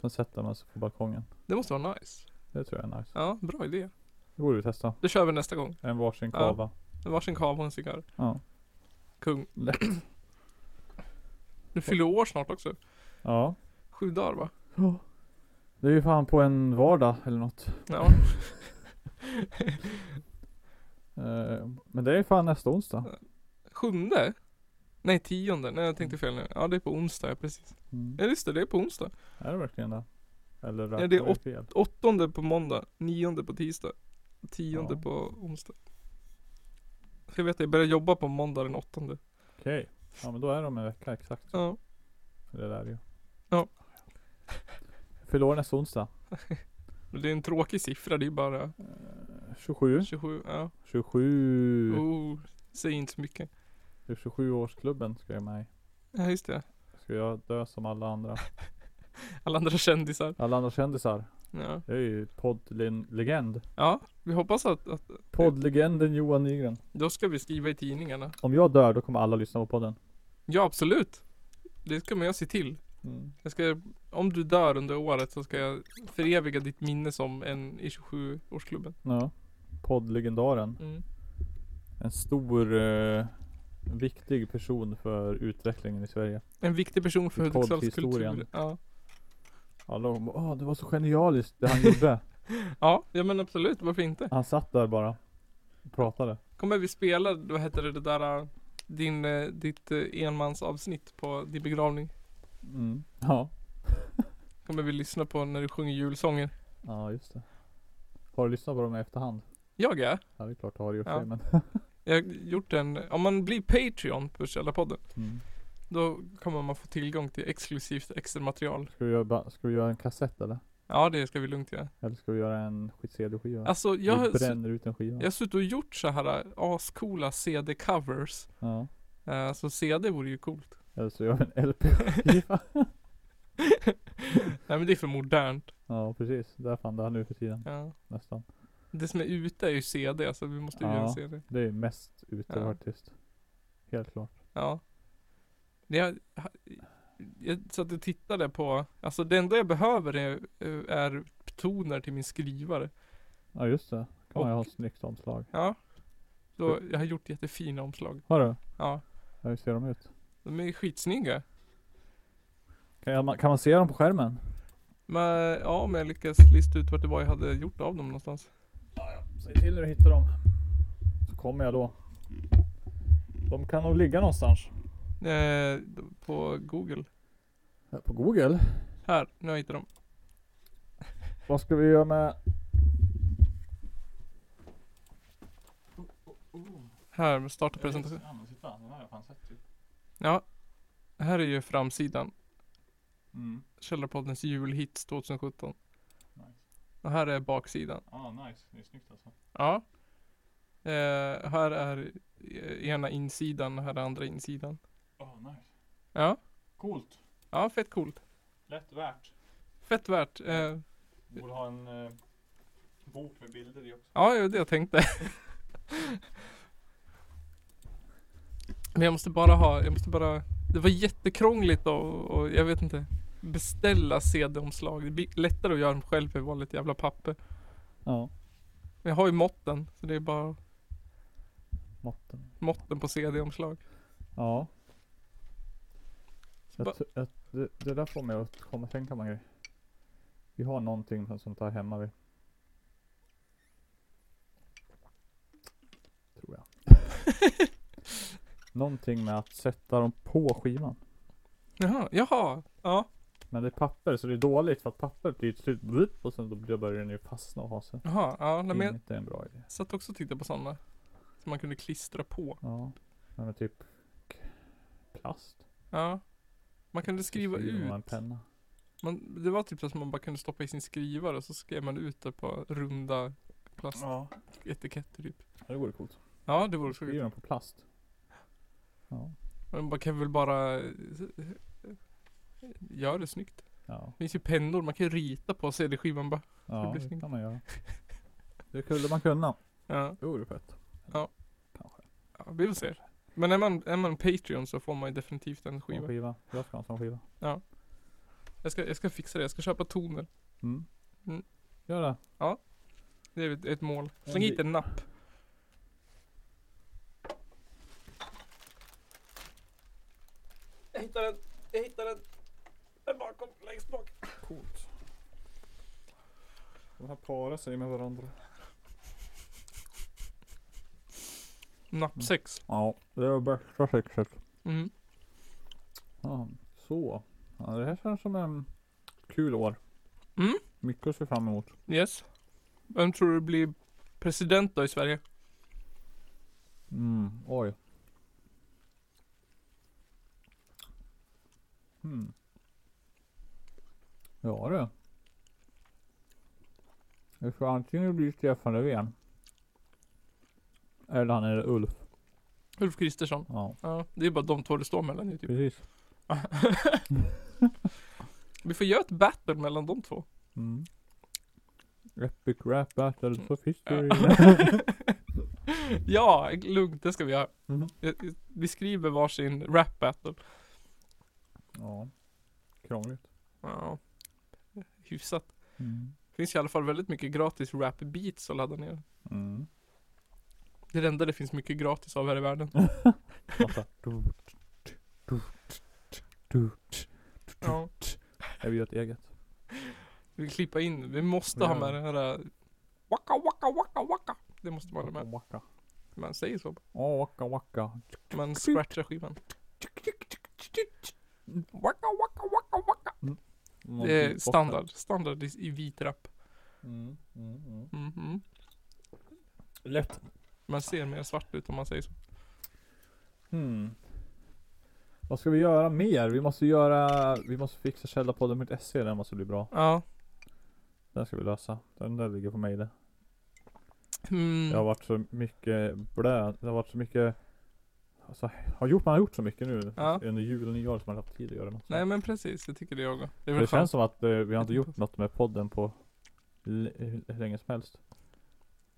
A: Sen sätter man sig på balkongen.
B: Det måste vara nice.
A: Det tror jag är nice.
B: Ja, bra idé.
A: Det borde vi testa.
B: Det kör vi nästa gång.
A: En varsin
B: Ja.
A: kava.
B: En Varsin kava och en cigarr.
A: Ja.
B: Kung.
A: Lätt.
B: Du fyller år snart också.
A: Ja.
B: Sju dagar va?
A: Det är ju fan på en vardag eller något.
B: Ja.
A: Eh, Men det är ju fan nästa onsdag.
B: Sjunde? Nej, tionde. Nej, jag tänkte fel nu. Ja, det är på onsdag, ja, precis.
A: Mm.
B: Ja, just det. Det är på onsdag.
A: Är det verkligen det? Eller
B: Ja, det
A: räknar
B: är
A: vi
B: åt-
A: fel?
B: Åttonde på måndag, nionde på tisdag, tionde
A: Ja.
B: på onsdag. Så Jag vet att jag börjar jobba på måndag den åttonde.
A: Okej. Ja men då är det om en vecka exakt.
B: Ja.
A: Det där är ju.
B: Ja.
A: Fyller år nästa onsdag.
B: Men det är en tråkig siffra, det är bara
A: Eh, 27.
B: 27. Ja.
A: 27.
B: Oh, säg inte så mycket.
A: Det är 27-årsklubben ska jag med i.
B: Ja, just det.
A: Ska jag dö som alla andra.
B: Alla andra kändisar.
A: Alla andra kändisar.
B: Ja,
A: Jag är ju poddlegend.
B: ja vi hoppas att, att
A: Poddlegenden Johan Nygren.
B: då ska vi skriva i tidningarna.
A: Om jag dör då kommer alla lyssna på podden.
B: Ja, absolut. Det ska man ju se till.
A: Mm.
B: Jag ska, om du dör under året så ska jag föreviga ditt minne som en i 27-årsklubben.
A: Ja. Poddlegendaren.
B: Mm.
A: En stor eh, viktig person för utvecklingen i Sverige.
B: En viktig person för
A: I
B: Hudiksvalls
A: poddhistorien.
B: kultur. Ja.
A: Alla de bara, åh det var så genialiskt det han gjorde.
B: ja, ja men absolut, varför inte?
A: Han satt där bara. Och pratade.
B: Kommer vi spela, vad heter det, det där äh, din, äh, ditt äh, enmansavsnitt på din begravning?
A: Mm. Ja.
B: Kommer vi lyssna på när du sjunger julsånger?
A: Ja just det. Har du lyssnat på dem i efterhand?
B: Jag är.
A: Ja det är klart du har i och för
B: Ja.
A: sig men.
B: Jag har gjort en, om man blir Patreon på Källarpodden,
A: Mm.
B: då kommer man få tillgång till exklusivt extra material.
A: Ska vi, göra, ba- ska vi göra en kassett eller?
B: Ja, det ska vi lugnt göra.
A: Eller ska vi göra en sk- CD-skiva?
B: Alltså, jag har
A: vi
B: s-
A: bränner ut en skiva.
B: Jag har suttit och gjort så här äh, ascoola CD-covers.
A: Ja.
B: Eh, Så CD vore ju coolt.
A: Eller så gör vi en LP-skiva.
B: Nej men det är för modernt.
A: ja precis. Det är fan det här nu för tiden.
B: Ja.
A: Nästan.
B: Det som är ute är ju CD, så vi måste ju
A: Ja.
B: göra en CD.
A: Det är ju mest ute
B: Ja.
A: artist. Helt klart.
B: Ja. Det jag, jag satt och tittade på, alltså det enda jag behöver är, äh, är toner till min skrivare.
A: Ja just det. Kan man ju
B: Och-
A: ha ett snyggt omslag.
B: Ja. Så jag har gjort jättefina omslag.
A: Har du?
B: Ja.
A: Ja, hur ser de ut?
B: De är skitsnygga.
A: Kan, jag, ma- kan man se dem på skärmen?
B: Men ja, om jag lyckas lista ut vart det var jag hade gjort av dem någonstans.
A: Säg till när du hittar dem. Så kommer jag då. De kan nog ligga någonstans.
B: Eh, på Google.
A: Här På Google?
B: Här, nu har jag hittat dem.
A: Vad ska vi göra med...
B: Här, starta presentation.
A: typ.
B: Ja. Här är ju framsidan.
A: Mm.
B: Källarpoddens julhits 2017.
A: Nice.
B: Och här är baksidan.
A: Ah, nice. Det är snyggt alltså.
B: Ja. Eh, här är eh, ena insidan och här är andra insidan.
A: Oh, nice.
B: Ja.
A: Coolt.
B: Ja, fett coolt.
A: Lätt värt.
B: Fett värt. Eh,
A: Borde ha en eh, bok med bilder i också.
B: ja, det var det jag tänkte. Men jag måste bara ha, jag måste bara. Det var jättekrångligt och, och jag vet inte. Beställa CD-omslag. Det blir lättare att göra dem själv för vanligt jävla papper.
A: Ja.
B: Men jag har ju måtten, så det är bara
A: Måtten.
B: måtten på CD-omslag.
A: Ja.
B: Så
A: Jag,
B: bara-
A: tr- jag, det, det där får mig att komma och tänka på en grej. Vi har någonting som- som tar hemma vi. Tror jag. någonting med att sätta dem på skivan.
B: Jaha, jaha, ja.
A: Men det är papper så det är dåligt för att papperet blir till slut blup, och sen då blir- börjar den ju fastna och ha sig.
B: Jaha, ja. Nej, men jag
A: Inte en bra idé.
B: satt också och tittade på sådana. Som man kunde klistra på.
A: Ja. Nej, Men typ k- plast.
B: Ja. Man kunde
A: Så
B: skriva
A: skriver man En
B: ut.
A: penna.
B: Man, det var typ så att man bara kunde stoppa i sin skrivare och så skrev man ut det på runda
A: Ja.
B: plastatiketter typ.
A: Det vore coolt.
B: Ja, det vore så
A: Skriver
B: kul.
A: den på plast. Ja.
B: Man bara kan väl bara eh, göra det snyggt.
A: Ja.
B: Det finns ju pennor, man kan ju rita på CD-skivan bara.
A: Ja,
B: blir
A: det
B: snyggt.
A: kan man göra. Det kunde man kunna.
B: Ja,
A: Det vore fett.
B: ja, vi får se. Men är man, är man Patreon så får man ju definitivt en
A: Skiva.
B: skiva.
A: skiva. Jag ska ha en sån skiva.
B: Jag ska, jag ska fixa det, jag ska köpa toner.
A: Mm.
B: Mm.
A: Gör det.
B: Det är ett, ett mål. Släng
A: Mm.
B: hit en napp. Jag hittar den, jag hittar den. Den bakom, längst bak.
A: Coolt. De här parar sig med varandra.
B: Nappsex.
A: Ja, det var bästa sexet.
B: Mm.
A: Ja, så. Ja, det här känns som en kul år.
B: Mm.
A: Mycket att se fram emot.
B: Yes. Vem tror du blir president då i Sverige?
A: Mm, oj. Hmm. Ja du. Det får antingen bli Stefan Löfven. Eller han är Ulf.
B: Ulf Kristersson.
A: Ja,
B: Ja, det är bara de två det står mellan ju typ.
A: precis.
B: Vi får göra ett battle mellan de två.
A: Mm. Epic rap battle for history.
B: ja, lugnt. Det ska vi göra. Eh,
A: Mhm.
B: Vi skriver varsin rap battle.
A: ja. Krångligt.
B: Ja. Hyfsat.
A: Mm.
B: Finns i alla fall väldigt mycket gratis rap beats att ladda ner.
A: Mm.
B: Det är det enda det finns mycket gratis av här i världen.
A: Massa.
B: Ja.
A: Jag vill göra ett eget.
B: Vi vill klippa in. Vi måste ha med den här äh, Waka waka waka waka. Det måste man ha med.
A: Waka.
B: Man säger så.
A: Ja, waka waka.
B: Man scratchar skivan. Waka waka waka waka.
A: Någon
B: Det är
A: beatboxare.
B: standard. Standard i i vit rap.
A: Mm, mm, mm.
B: Mhm.
A: Lätt.
B: Man ser mer svart ut om man säger så.
A: Hmm. Vad ska vi göra mer? Vi måste göra, vi måste fixa källarpodden.se, den måste bli bra.
B: Ja.
A: Den ska vi lösa. Den där ligger på mejlen.
B: Mm.
A: Det har varit så mycket blö, det har varit så mycket Alltså, har gjort, man har gjort så mycket nu
B: Ja.
A: under jul och nyår som man inte haft tid att göra något.
B: Nej men precis, jag tycker det jag Det är
A: det
B: väl
A: känns
B: skönt.
A: som att eh, vi har inte gjort något med podden på l- hur länge som helst.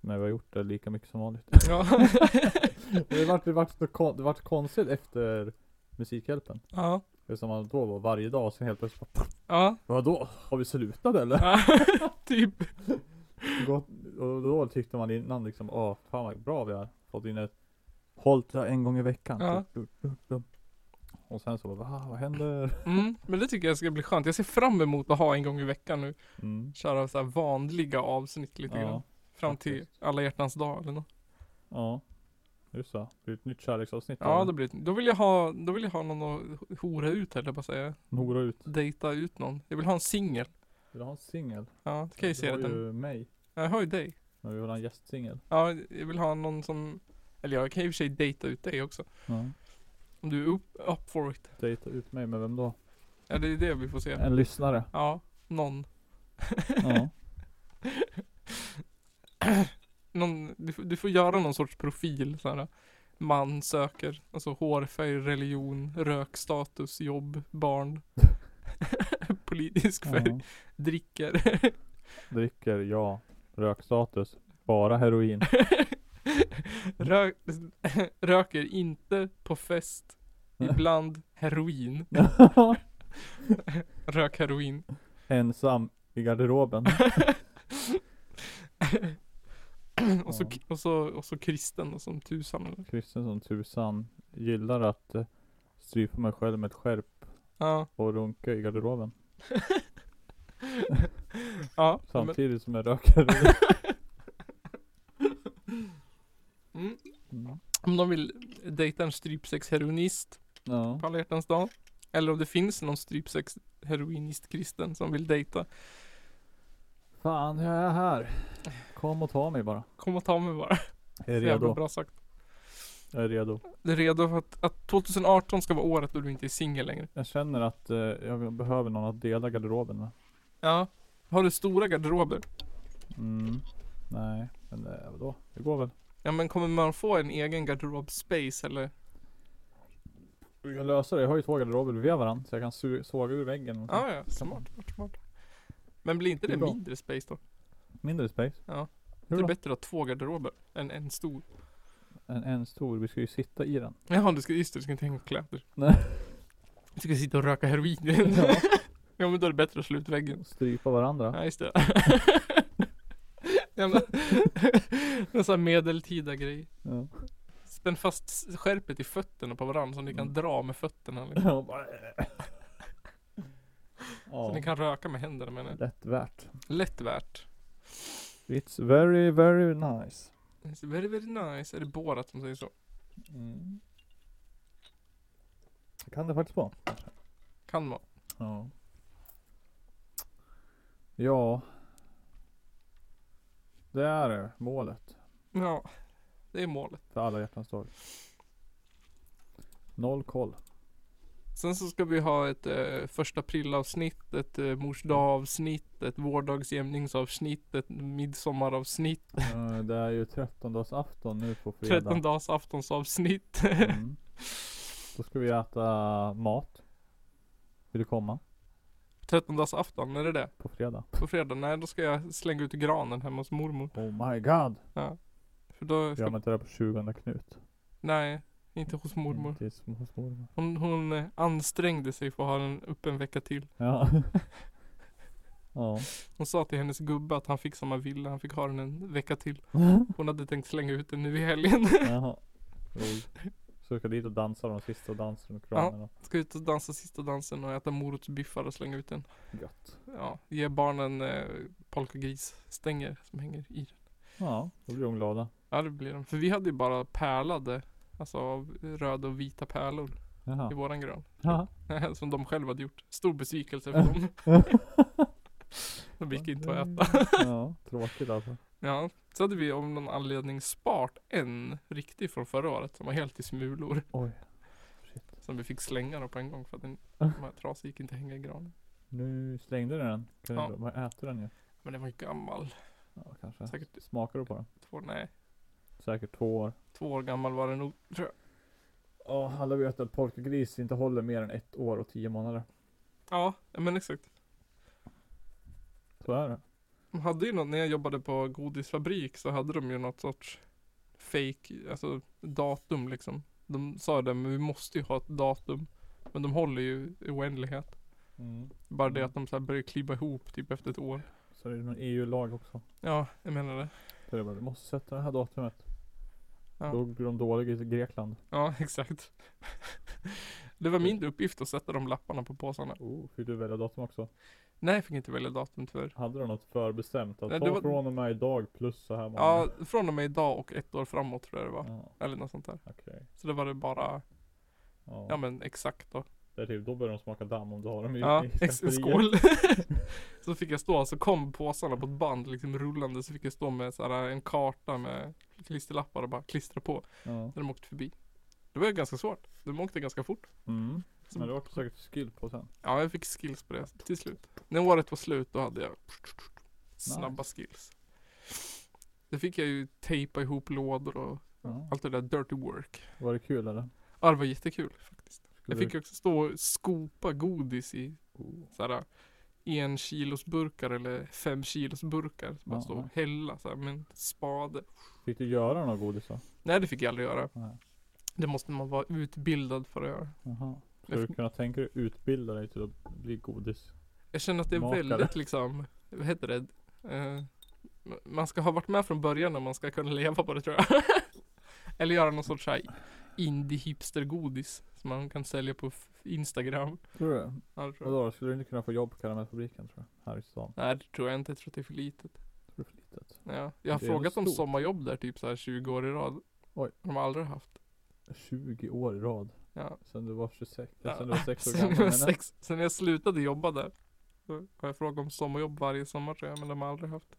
A: Men vi har gjort det lika mycket som vanligt.
B: Ja.
A: Det vart, det, vart, så kon- det vart konstigt efter Musikhjälpen.
B: ja.
A: Det är som man då var varje dag och sen helt plötsligt bara,
B: Ja.
A: Vadå? Har vi slutat eller?
B: ja. typ.
A: Gått- och då tyckte man innan liksom Åh fan vad bra vi har fått in ett Hållt det här en gång i veckan. Typ,
B: Ja.
A: Du- du- du- du. Och sen så bara Va, vad händer?
B: Mm. Men det tycker jag ska bli skönt. Jag ser fram emot att ha en gång i veckan nu.
A: Mm.
B: Köra så här vanliga avsnitt lite
A: Ja,
B: grann. Fram till
A: faktiskt.
B: alla hjärtans dag eller nåt.
A: Ja. Just det. Det är ett nytt kärleksavsnitt.
B: Ja,
A: av
B: då, blir det, då vill jag ha, då vill jag ha någon att hora ut eller bara säga.
A: en Hora ut.
B: Dejta ut någon. Jag vill ha en singel.
A: Vill du ha en singel?
B: Ja, det kan jag ju se
A: Du har
B: redan.
A: ju mig.
B: Jag har ju dig.
A: Men vi vill ha en gästsingel.
B: Ja, jag vill ha någon som, eller jag kan ju i och för sig dejta ut dig också.
A: Ja.
B: Om du är up, up for it.
A: Dejta ut mig med vem då?
B: Ja, det är det vi får se.
A: En lyssnare.
B: Ja, någon.
A: Ja.
B: någon du, får- du får göra någon sorts profil så här. Man söker, alltså hårfärg, religion, rökstatus, jobb, barn. Politisk färg,
A: ja.
B: dricker.
A: Dricker, ja. Rökstatus. Bara heroin.
B: Rö röker inte på fest. Ibland heroin. Rök heroin.
A: Ensam i garderoben.
B: och, så,
A: Ja.
B: och, så, och så kristen och som tusan. eller?
A: Kristen som tusan. Gillar att eh, strypa mig själv med ett skärp
B: Ja,
A: och runka i garderoben.
B: ja. Men,
A: Samtidigt som jag röker.
B: mm,
A: Mm.
B: om de vill dejta en strypsexheroinist
A: Ja.
B: på alla hjärtans dag. Eller om det finns någon strypsex heroinist kristen som vill dejta.
A: Fan, jag är här. Kom och ta mig bara.
B: Kom och ta mig bara.
A: Jag är
B: Så jävla
A: redo.
B: bra sagt.
A: Jag är redo.
B: Du är redo för att, att 2018 ska vara året då du inte är singel längre.
A: Jag känner att eh, jag behöver någon att dela garderoben med.
B: Ja. Har du stora garderober?
A: Mm. Nej, men eh, vadå? Det går väl.
B: Ja men kommer man få en egen garderobspace eller?
A: Mm. Vi kan lösa det. Jag har ju två garderober bredvid varandra. Så jag kan su- såga ur väggen. och så.
B: Ja ja, smart, smart, smart. Men blir inte
A: Det
B: det
A: är bra.
B: mindre space då?
A: Mindre space.
B: Ja. Typ
A: Hur
B: Det är
A: då?
B: bättre att ha två garderober än en stor.
A: En, en stor, vi ska ju sitta i den.
B: Jaha, du ska, just det, du ska inte hänga kläder.
A: Nej.
B: Du ska sitta och röka heroin.
A: Ja.
B: ja men då är det bättre att slå ut väggen.
A: Och strypa varandra.
B: Ja just det. ja, men, en sån här medeltida grej.
A: Ja.
B: Spänn fast s- skärpet i fötterna på varandra så ni kan
A: Mm.
B: dra med fötterna. Liksom.
A: Ja, bara-
B: Så
A: Ja,
B: ni kan röka med händerna menar jag.
A: lätt värt.
B: Lätt värt.
A: It's very, very nice.
B: It's very very nice. Är det Borat som säger så?
A: Mm. Jag kan det faktiskt vara.
B: Kan vara.
A: Ja. Ja. Det är det, målet.
B: Ja. Det är målet.
A: För alla hjärtans dag. Noll koll.
B: Sen så ska vi ha ett eh, första aprilavsnitt, ett eh, mors dag-avsnitt, ett vårdagsjämningsavsnitt, ett midsommaravsnitt,
A: Eh, Det är ju trettondagsafton nu på fredag.
B: 13 dagars aftonsavsnitt.
A: Mm. Då ska vi äta mat. Vill du komma?
B: 13 dagars afton, är det det?
A: På fredag.
B: På fredag? Nej, då ska jag slänga ut granen hemma hos mormor.
A: Oh my god.
B: För då ska...
A: Gör man inte det här på 20 Knut?
B: Nej, inte hos mormor.
A: Inte hos- hos mormor.
B: Hon, hon eh, ansträngde sig för att ha den uppe en vecka till.
A: Ja. ja.
B: Hon sa till hennes gubbe att han fick som han ville, han fick ha den en vecka till. Hon hade tänkt slänga ut den nu i helgen.
A: Jaha. Roligt. Så vi ska dit och dansa de sista dansen och kranerna.
B: Ska ut och dansa sista dansen och äta morotsbiffar och slänga ut den.
A: Gött.
B: Ja, ge barnen eh, polkagrisstänger som hänger i den.
A: Ja, då blir de glada.
B: Ja det blir de. För vi hade ju bara pärlade, alltså av röda och vita pärlor i
A: Jaha.
B: våran gran.
A: Jaha.
B: som de själva hade gjort. Stor besvikelse för dem. de gick inte att äta.
A: Ja, tråkigt alltså.
B: Ja, så hade vi av någon anledning spart en riktig från förra året som var helt i smulor.
A: Oj.
B: Som vi fick slänga då på en gång för att den de här trasor gick inte att hänga i granen. Nu.
A: Nu slängde du den. Kan
B: Ja.
A: du, vad äter den ju?
B: Men den var ju gammal.
A: Ja, kanske.
B: Säkert-
A: Smakar du på den?
B: Två, nej,
A: Säkert två år.
B: två år gammal var den nog tror jag.
A: Ja, alla vet att polkagris inte håller mer än ett år och tio månader.
B: Ja, ja, men exakt.
A: Så är det.
B: De hade ju något, när jag jobbade på godisfabrik så hade de ju något sorts fake, alltså datum liksom. De sa det, men vi måste ju ha ett datum. Men de håller ju i oändlighet. Bara det att de så här börjar klibba ihop typ efter ett år.
A: Så är det någon EU-lag också.
B: Ja, jag menar det.
A: Så det är bara, du måste sätta det här datumet.
B: Ja.
A: Då blir de dåliga i Grekland.
B: Ja, exakt. Det var min uppgift att sätta de lapparna på påsarna.
A: Oh, fick du välja datum också?
B: Nej, jag fick inte välja datum tyvärr.
A: Hade du något förbestämt? Att
B: Nej, det
A: ta
B: var-
A: från och med idag plus så här många?
B: Ja, från och med idag och ett år framåt tror jag det var.
A: Ja,
B: Eller något sånt där.
A: Okej.
B: Så det var det bara,
A: Ja.
B: ja men exakt då.
A: Det är typ, då börjar de smaka damm om du har dem i,
B: Ja,
A: i
B: ex-
A: skafferiet.
B: skål. så fick jag stå, så kom påsarna på ett band liksom rullande. Så fick jag stå med så här, en karta med klisterlappar och bara klistra på.
A: Ja.
B: När de åkte förbi. Det var ganska svårt. De åkte ganska fort.
A: Mm.
B: Så-
A: Men det var säkert skill på sen.
B: Ja, jag fick skills på det till slut. När året var slut då hade jag snabba skills. Det fick jag ju tejpa ihop lådor och
A: Ja.
B: allt det där dirty work.
A: Var det kul eller?
B: Ja, det var jättekul faktiskt.
A: Skulle
B: Jag fick
A: du...
B: ju också stå och skopa godis i såhär en kilos burkar eller fem kilos burkar. Så bara
A: Ja,
B: stå och
A: ja.
B: hälla såhär med en spade.
A: fick du göra några godis då?
B: Nej, det fick jag aldrig göra.
A: Nej.
B: Det måste man vara utbildad för att göra.
A: Jaha.
B: Jag
A: Skulle
B: fick-
A: du kunna tänka dig utbilda dig till att bli godis?
B: Jag känner att det är
A: Makare.
B: väldigt liksom, vad heter det? Eh, man ska ha varit med från början om man ska kunna leva på det tror jag. Eller göra någon sorts så här indie hipster godis som man kan sälja på f- Instagram.
A: Tror du det?
B: Ja, det tror jag.
A: Vadå, skulle du inte kunna få jobb på karamellfabriken tror jag? Här i stan?
B: Nej det tror jag inte, jag tror att det är för litet.
A: Tror du det är för litet?
B: Ja. Jag har
A: Det är väl
B: frågat om
A: stort.
B: sommarjobb där typ så här 20 år i rad.
A: Oj.
B: De har aldrig haft.
A: 20 år i rad.
B: Ja.
A: Sen du var 26,
B: Ja.
A: sen du var 6 år
B: Sen,
A: gammal.
B: jag var
A: menar jag.
B: sex, sen jag slutade jobba där. så Har jag frågat om sommarjobb varje sommar tror jag, men de har aldrig haft.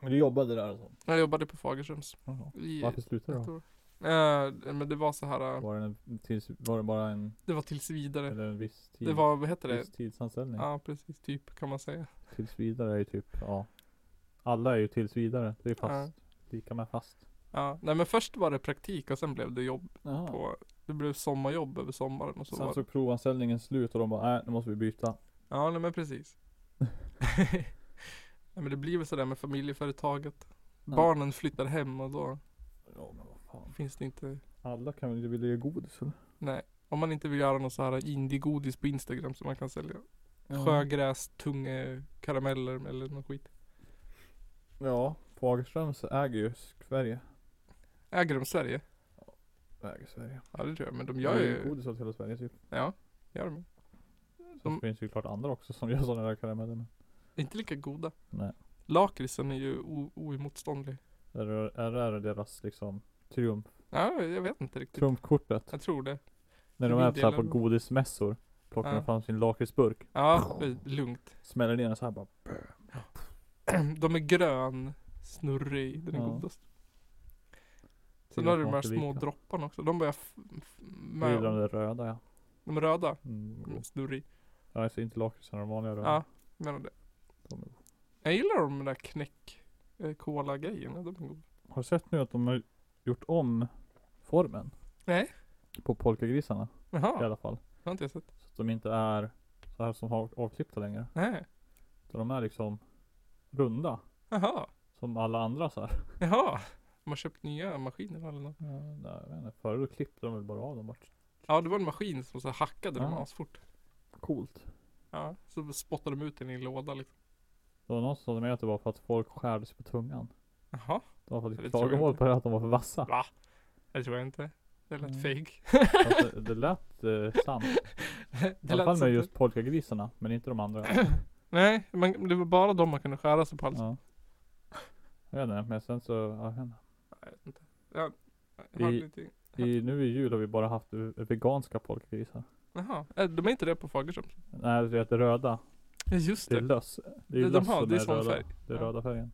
A: Men du jobbade där alltså?
B: Jag jobbade på Fagerströms.
A: Jaha.
B: i
A: Varför slutade du
B: ett
A: då?
B: år. Eh, men det var så här. eh,
A: Var det, en, tills, var det bara en,
B: Det var tills vidare.
A: eller en viss tid?
B: Det var, vad heter det?
A: viss tidsanställning?
B: Ja precis, typ kan man säga.
A: Tills vidare är ju typ, ja. Alla är ju tills vidare. Det är
B: Ja.
A: fast. Lika med fast.
B: Ja, nej men först var det praktik och sen blev det jobb
A: Jaha.
B: på, det blev sommarjobb över sommaren och så
A: Sen
B: var
A: såg provanställningen slut och de bara, nej nu måste vi byta.
B: Ja nej men precis. Ja, men det blir väl sådär med familjeföretaget.
A: Ja.
B: Barnen flyttar hem och då
A: Ja men vad fan.
B: finns det inte
A: Alla kan väl vilja ge godis eller?
B: Nej, om man inte vill göra någon så här indiegodis på Instagram som man kan sälja. Sjögräs, tunga karameller eller något skit.
A: Ja, Fagerströms äger ju Sverige.
B: Äger de Sverige?
A: Äger Sverige.
B: Ja det tror jag, men de gör
A: Det är
B: ju...
A: godis åt hela Sverige typ.
B: Ja, gör de.
A: Så
B: De-
A: finns ju klart andra också som gör sådana där karameller. men-
B: Inte lika goda.
A: Nej.
B: Lakritsen är ju o- oemotståndlig.
A: Är det, är det här deras liksom triumf,
B: Typ- Ja, jag vet inte riktigt.
A: trumfkortet?
B: Jag tror det.
A: När de
B: min
A: är så här
B: del
A: på
B: ändå.
A: godismässor. Plockar
B: Ja.
A: de fram sin lakritsburk.
B: Ja, lugnt.
A: Smäller ner den så här bara.
B: De är grön, snurrig, den är
A: Ja.
B: godast. Sen
A: Tydligen
B: har du de
A: smakar
B: här små
A: lika.
B: dropparna också. De börjar... F- f-
A: Det är ju de
B: med,
A: där röda ja.
B: de är röda.
A: Mm.
B: De är Snurrig.
A: Ja, alltså inte lakritsen, de vanliga röda.
B: Ja, menar det.
A: De är-
B: Jag gillar de där knäck eh, cola grejerna de är goda.
A: Har du sett nu att de har gjort om formen?
B: Nej.
A: På polkagrisarna i
B: Jaha,
A: alla fall.
B: det har inte jag sett.
A: Så att de inte är så här som har avklippta längre.
B: Nej.
A: Så de är liksom runda.
B: Jaha,
A: Som alla andra så här.
B: jaha. De har köpt nya maskiner eller något.
A: Ja, nej, jag vet inte. Förut klippte de väl bara av dem vart.
B: Ja, det var en maskin som så här hackade dem
A: Ja.
B: asfort.
A: Coolt.
B: Ja, så spottade de ut den i en låda liksom.
A: Det var någon som sa till mig att det var för att folk skärde sig på tungan.
B: Jaha,
A: Det var
B: Det
A: faktiskt
B: tror jag
A: klagomål
B: inte.
A: på det att de var för vassa.
B: va? Det tror jag inte. Det lät
A: Mm.
B: fake.
A: Alltså, det lät eh, sant. I
B: Det
A: alla
B: lät
A: fall
B: så
A: med
B: att-
A: just polkagrisarna, men inte de andra.
B: Nej, men det var bara de man kunde skära sig på halsen.
A: Ja. Jag vet inte, men sen så, ja, jag vet inte.
B: Jag vet inte. Jag, jag
A: I-
B: hörde ingenting.
A: I, nu i jul har vi bara haft v- veganska polkagrisar.
B: Jaha, eh, de är inte det på Fagerström?
A: Nej, du vet röda.
B: Ja, just
A: Det är
B: det.
A: löss. Det är
B: Det-
A: ju
B: de
A: löss
B: har-
A: som
B: det är
A: är
B: sån
A: röda.
B: färg.
A: Det är
B: Ja.
A: röda färgen.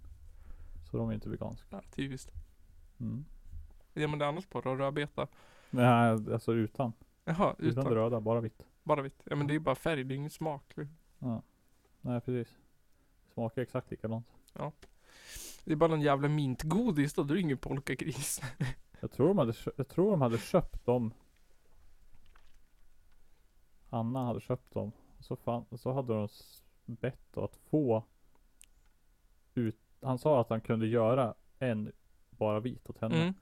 A: Så de är inte veganska.
B: Ja, typiskt.
A: Mm.
B: Ger man det annars på då? Rödbeta?
A: Nej, alltså utan.
B: Jaha,
A: Utan det
B: utan.
A: röda, bara vitt.
B: Bara vitt. Ja men det är ju bara färg, det är ingen smak.
A: Nej, precis. Smakar exakt likadant.
B: Det är bara någon jävla mintgodis då, då är det ingen polkagris.
A: Jag tror de hade, kö- jag tror de hade köpt dem. Anna hade köpt dem. Och så, fan, och så hade de s- bett att få ut, han sa att han kunde göra en bara vit åt henne.
B: Mm.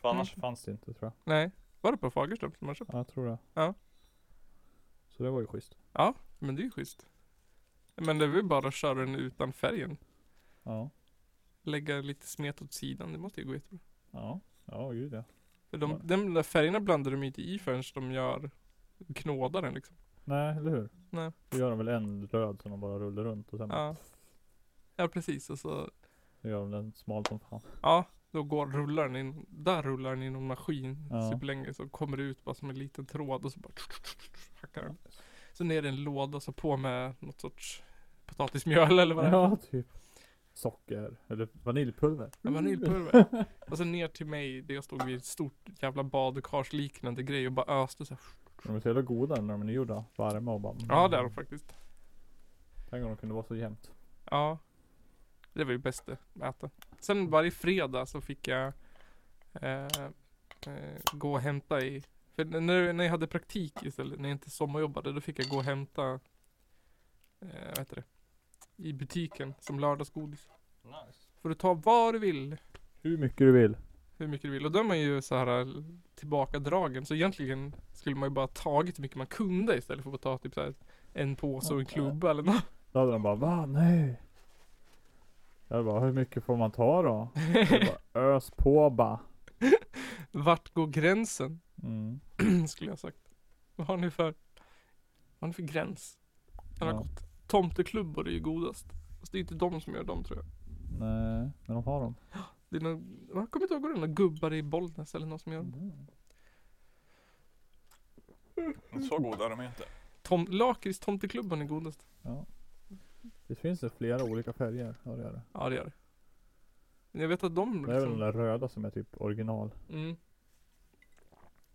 A: För annars fanns det inte tror jag.
B: Nej. Var det på Fagerström som man köpte?
A: Ja, jag tror det.
B: Ja.
A: Så det var ju schysst.
B: Men det är ju schysst. Men det är väl bara att köra den utan färgen.
A: Ja.
B: Lägga lite smet åt sidan, det måste ju gå jättebra.
A: Ja. Ja, gud ja.
B: För de,
A: Ja.
B: de där färgerna blandar de inte i förrän de gör knådaren liksom.
A: Nej, eller hur?
B: Nej.
A: Då gör de väl en röd som de bara rullar runt och sen
B: Ja. Ja precis, och så,
A: då gör de den smal som fan.
B: ja, då går rullar den in, där rullar den i någon maskin
A: Ja.
B: superlänge så kommer det ut bara som en liten tråd och så bara hackar den. Så ner i en låda så på med något sorts potatismjöl eller vad det är.
A: Ja, typ. Socker. Eller vaniljpulver. Mm.
B: Ja, vaniljpulver. Och så ner till mig där jag stod vid ett stort jävla badkarsliknande grej och bara öste så här.
A: De är så jävla goda när de är gjorda. Varma och bara. mm.
B: Ja det är de faktiskt.
A: Tänk om de kunde vara så jämnt.
B: Ja. Det var ju bäst det, att äta. Sen varje fredag så fick jag eh, eh, gå och hämta i för när, när jag hade praktik istället, när jag inte sommarjobbade, då fick jag gå och hämta eh, vad heter det? I butiken som lördagsgodis.
A: Nice.
B: Får du ta vad du vill
A: Hur mycket du vill.
B: hur mycket du vill. Och då är man ju så här eh, tillbakadragen. Så egentligen skulle man ju bara tagit hur mycket man kunde istället för att ta typ så här en påse och en klubba eller något.
A: Då hade de bara va? Nej. Jag bara hur mycket får man ta då? Jag bara, Ös på bara.
B: Vart går gränsen?
A: Mm.
B: skulle jag ha sagt. Vad har ni för, vad har ni för gräns? Den har
A: Ja.
B: gått. Tomteklubbor är ju godast. Fast det är inte de som gör dem tror jag.
A: Nej, men de har dem.
B: Det är någon, jag kommer inte ihåg vad det är, några gubbar i Bollnäs eller någon som gör dem.
A: Så goda de är inte.
B: Tom, lakrits tomteklubban är godast.
A: Det finns det flera olika färger. Ja, det gör det.
B: Ja det gör det. Men jag vet att de
A: Det är väl
B: liksom,
A: den där röda som är typ original.
B: Mm.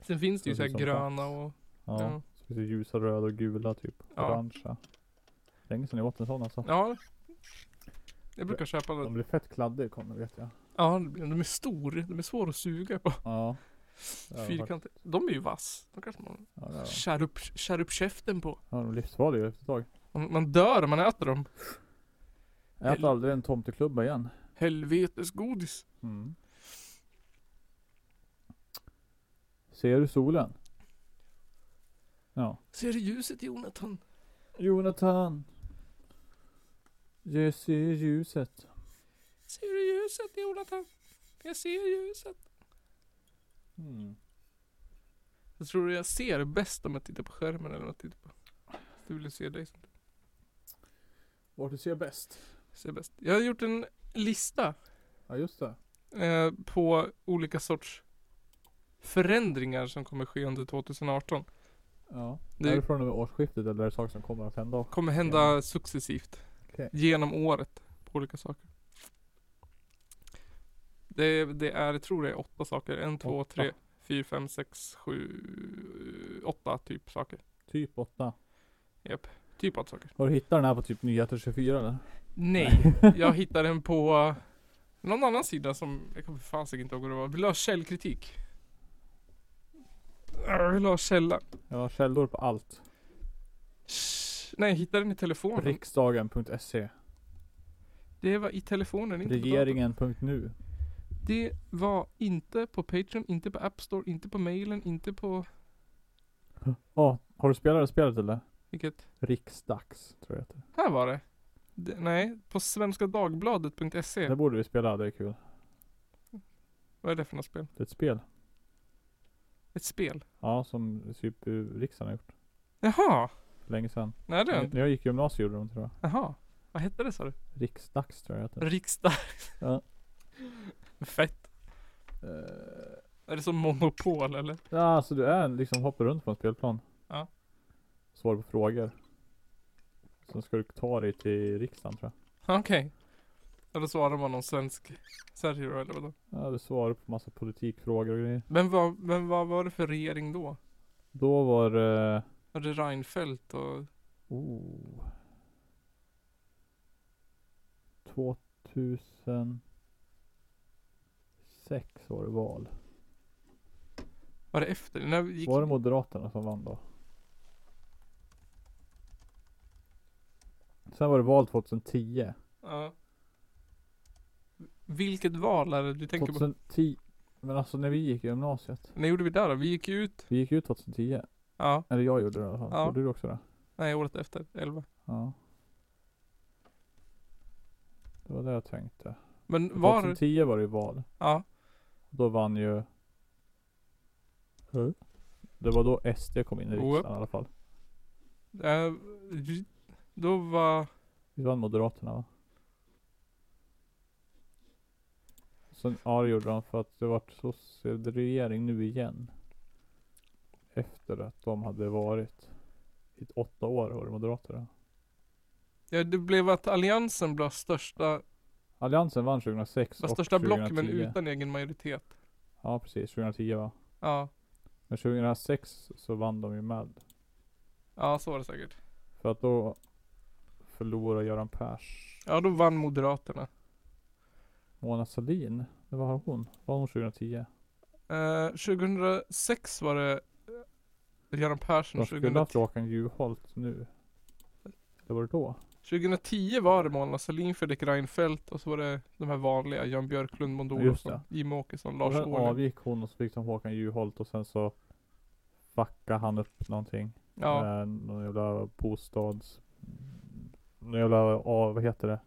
B: Sen finns det ju
A: Så det
B: såhär
A: är som
B: gröna
A: vax.
B: och
A: Ja.
B: Ja.
A: Så finns det ljusa röda och gula typ.
B: Ja.
A: Orangea. Länge sedan jag åt en sån alltså.
B: Ja Jag brukar köpa
A: De
B: den
A: blir fett kladdiga kommer vet jag.
B: Ja det blir- de är stor, de är svåra att suga på
A: Ja. Det har jag hört.
B: Fyrkantiga De är ju vass De kanske man
A: Ja, det har jag.
B: skär upp, skär upp käften på
A: ja de är livsfarliga efter ett tag.
B: man, man dör om man äter dem
A: Ät aldrig en tomteklubba igen.
B: Helvetesgodis.
A: Mm. Ser du solen? Ja.
B: Ser du ljuset Jonathan?
A: Jonathan. Jag ser ljuset.
B: Ser du ljuset Jonathan? Jag ser ljuset.
A: Mm.
B: Jag tror jag ser bäst om jag tittar på skärmen eller om jag tittar på. Du vill se dig som
A: Vart du ser bäst?
B: ser bäst. Jag har gjort en lista
A: Ja just det.
B: eh, på olika sorts förändringar som kommer ske under 2018.
A: Ja.
B: Det-
A: Är det från och med årsskiftet eller är det saker som kommer att hända?
B: kommer hända successivt
A: Okej.
B: genom året på olika saker. Det, det är, jag tror det är åtta saker. En, två,
A: Åtta.
B: tre, fyra, fem, sex, sju, åtta typ saker.
A: Typ 8.
B: Typ åtta saker.
A: Har du hittat den här på typ Nyheter 24 eller?
B: Nej, jag hittade den på någon annan sida som, jag kommer för fan sig inte ihåg vad det var. Vill du ha källkritik? Jag vill ha källa.
A: Jag har källor på allt.
B: Shh. Nej, jag hittade den i telefonen.
A: Riksdagen.se
B: Det var i telefonen, inte på datorn.
A: Regeringen.nu
B: Det var inte på Patreon, inte på App Store, inte på mailen, inte på
A: Ja, har du spelat det spelet eller?
B: vilket?
A: Riksdags tror jag det heter.
B: Här var det. det nej, på svenskadagbladet.se.
A: Det borde vi spela, det är kul.
B: Vad är det för något spel?
A: Det är ett spel.
B: Ett spel?
A: Ja, som typ eh, riksdagen har gjort.
B: Jaha!
A: För länge sedan.
B: Nej det är
A: När
B: inte.
A: när jag gick i gymnasiet gjorde de tror jag.
B: Jaha. Vad hette det sa du?
A: Riksdags tror jag det heter.
B: Riksdag.
A: Ja.
B: Fett.
A: Eh,
B: Är det som Monopol eller?
A: Ja, alltså du är en- liksom hoppar runt på en spelplan.
B: Ja.
A: Svarar på frågor. Sen ska du ta dig till riksdagen tror jag.
B: Okej. Eller svarar man någon svensk Sergio eller vadå?
A: Ja, du svarar på massa politikfrågor och grejer.
B: Men vad, men vad var det för regering då?
A: Då var det...
B: Var det Reinfeldt och...
A: Oh. 2006 var det val.
B: Var det efter? När gick...
A: Var det Moderaterna som vann då? Sen var det val 2010.
B: Ja. Vilket val är det du tänker på?
A: 2010. Men alltså när vi gick i gymnasiet.
B: När gjorde vi det då? Vi gick ju ut.
A: Vi gick ut 2010.
B: Ja,
A: Eller jag gjorde det i alla fall.
B: Ja.
A: Gjorde du också det?
B: nej året efter. 11.
A: Ja. Det var det jag tänkte.
B: Men var...
A: 2010 var det ju val.
B: Ja.
A: Då vann ju Det var då SD kom in i riksdagen
B: Whoop.
A: i alla fall.
B: eh, Då var...
A: Vi vann Moderaterna va? Sen, ja det gjorde de för att det vart sosseregering nu igen. Efter att de hade varit i åtta år var det Moderaterna.
B: Ja, det blev att alliansen blev största,
A: Alliansen vann 2006
B: var
A: och
B: största
A: 2010.
B: block men utan egen majoritet.
A: Ja precis, 2010 va?
B: Ja.
A: Men 2006 så vann de ju med.
B: Ja, så var det säkert.
A: För att då förlorade Göran Pers
B: Ja, då vann Moderaterna.
A: Mona Sahlin, det var hon. Var hon 2010?
B: Eh, 2006 var det eh, Göran Persson.
A: De skulle haft
B: 2010,
A: Håkan Juholt nu. Det var det då.
B: 2010 var det Mona Sahlin, Fredrik Reinfeldt och så var det de här vanliga. Jan Björklund, Maud
A: Ja, just
B: Olofsson, Jimmie Åkesson, Lars
A: Sen
B: Ohly.
A: avgick hon och så fick de Håkan Juholt och sen så fuckade han upp någonting.
B: Ja.
A: Med någon jävla bostads... Någon jävla, ah, vad heter det?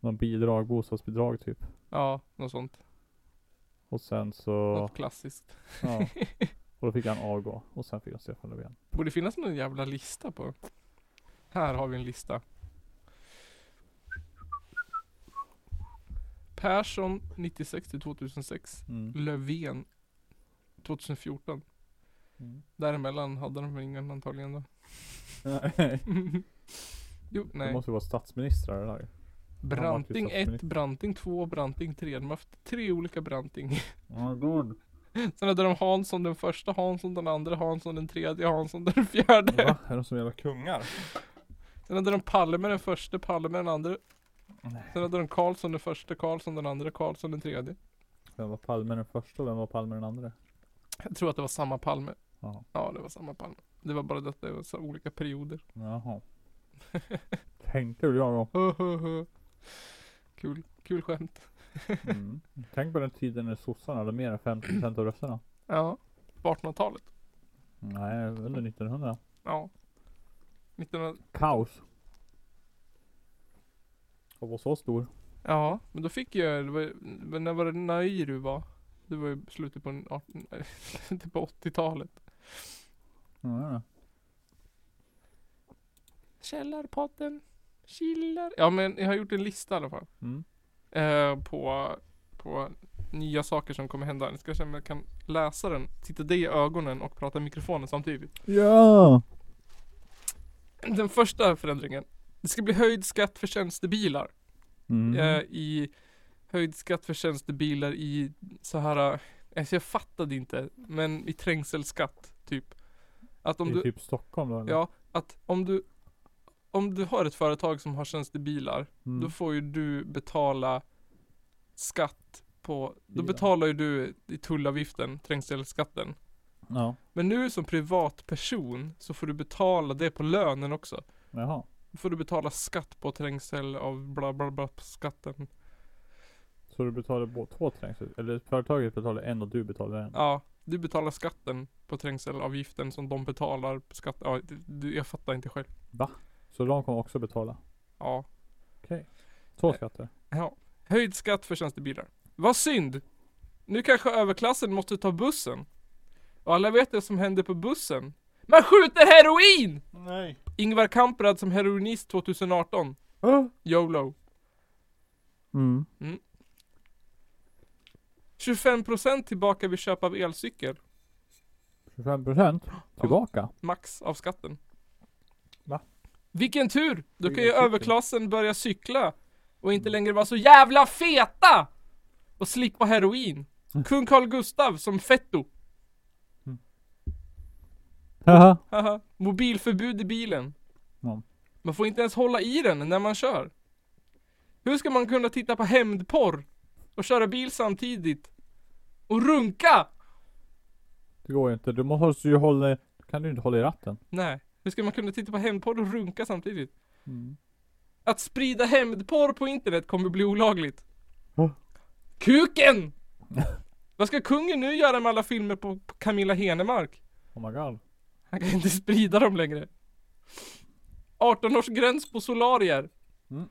A: Någon bidrag, bostadsbidrag typ.
B: Ja, något sånt.
A: Och sen så,
B: Något klassiskt.
A: ja. Och då fick han avgå. Och sen fick han Stefan Löfven.
B: Borde finnas någon jävla lista på. Här har vi en lista. Persson 96 till 2006.
A: Mm.
B: Löfven 2014.
A: Mm.
B: Däremellan hade de ingen antagligen då.
A: Nej.
B: jo,
A: Det
B: nej.
A: måste ju vara statsministrar det där.
B: Branting
A: Han var ju
B: 1, Branting 2, Branting 3. De har haft tre olika Branting.
A: Oh god.
B: Sen hade de Hansson den första, Hansson den andra, Hansson den tredje, Hansson den fjärde.
A: Va? Är de som jävla kungar?
B: Sen hade de Palme den första, Palme den andra.
A: Nej.
B: Sen hade de Karlsson den första, Karlsson den andra, Karlsson den tredje.
A: Vem var Palme den första och vem var Palme den andra?
B: Jag tror att det var samma Palme.
A: Jaha.
B: Ja, det var samma Palme. Det var bara det att det var så olika perioder.
A: Jaha. Tänkte väl jag då.
B: Höhöhö. Kul, kul skämt.
A: Mm. Tänk på den tiden när sossarna hade mer än 50% av rösterna.
B: Ja. På 1800-talet.
A: Nej, under 1900.
B: Ja. 1900...
A: Kaos. Och var så stor.
B: Ja, men då fick jag, det var, men när var det Nairu var? Det var ju slutet på, en 18 slutet på 80-talet.
A: Ja, ja.
B: Källarpodden. Chillar. Ja men jag har gjort en lista i alla fall.
A: Mm.
B: eh, på, på nya saker som kommer hända. Ni ska se om jag kan läsa den, titta dig i ögonen och prata i mikrofonen samtidigt.
A: ja.
B: Den första förändringen. Det ska bli höjd skatt för tjänstebilar.
A: Mm.
B: Eh, I höjd skatt för tjänstebilar i så här, eh, alltså jag fattade inte, men i trängselskatt typ. Att om
A: I
B: du,
A: typ Stockholm då eller?
B: ja, att om du, om du har ett företag som har tjänstebilar
A: Mm.
B: Då får ju du betala skatt på, då
A: Bilen.
B: betalar ju du i tullavgiften, trängselskatten.
A: ja.
B: Men nu som privatperson så får du betala det på lönen också.
A: Jaha.
B: Då får du betala skatt på trängsel av bla bla bla skatten.
A: Så du betalar bå- två trängsel? Eller företaget betalar en och du betalar en?
B: Ja, du betalar skatten på trängselavgiften som de betalar på skatt. Ja, det- du, jag fattar inte själv.
A: Så de kommer också betala?
B: Ja.
A: Okej.
B: Eh,
A: Två skatter?
B: ja. Höjd skatt för tjänstebilar. Vad synd! Nu kanske överklassen måste ta bussen. Och alla vet det som händer på bussen. Man skjuter heroin!
A: Nej.
B: Ingvar Kamprad som heroinist 2018. YOLO.
A: Mm.
B: 25% tillbaka vid köp av elcykel.
A: 25% tillbaka?
B: Max av skatten.
A: Va?
B: Vilken tur! Då kan ju
A: Elcykel.
B: överklassen börja cykla. Och inte
A: Mm.
B: längre vara så jävla feta! Och slippa heroin. Kung Carl Gustav som fetto.
A: Haha.
B: Haha, mobilförbud i bilen.
A: Ja.
B: Man får inte ens hålla i den när man kör. Hur ska man kunna titta på hämndporr och köra bil samtidigt? Och runka!
A: Det går ju inte. Du måste ju hålla... Kan du inte hålla i ratten?
B: Nej, hur ska man kunna titta på hämndporr och runka samtidigt?
A: Mm.
B: Att sprida hämndporr på internet kommer bli olagligt.
A: Va?
B: Kuken! Vad ska kungen nu göra med alla filmer på på Camilla Henemark?
A: Oh my god.
B: Han kan inte sprida dem längre. 18-årsgräns på solarier.
A: Mm.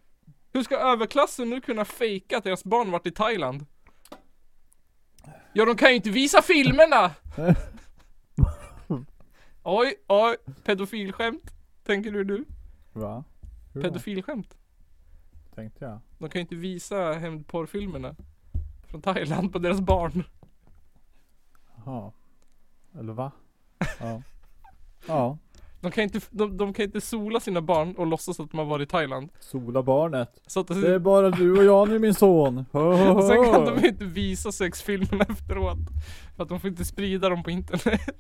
B: Hur ska överklassen nu kunna fejka att deras barn varit i Thailand? Ja, de kan ju inte visa filmerna! oj, oj, pedofilskämt. Tänker du nu?
A: Va? Hur då?
B: Pedofilskämt.
A: Tänkte jag.
B: De kan ju inte visa hämndporrfilmerna. Från Thailand på deras barn.
A: Jaha. Eller va? Ja. Ja.
B: De kan inte, de, de kan inte sola sina barn och låtsas att de har varit i Thailand.
A: Sola barnet.
B: Så att
A: Det är bara du och jag nu min son. Hö, hö,
B: Och sen kan
A: hö.
B: de inte visa sexfilmerna efteråt. För att de får inte sprida dem på internet.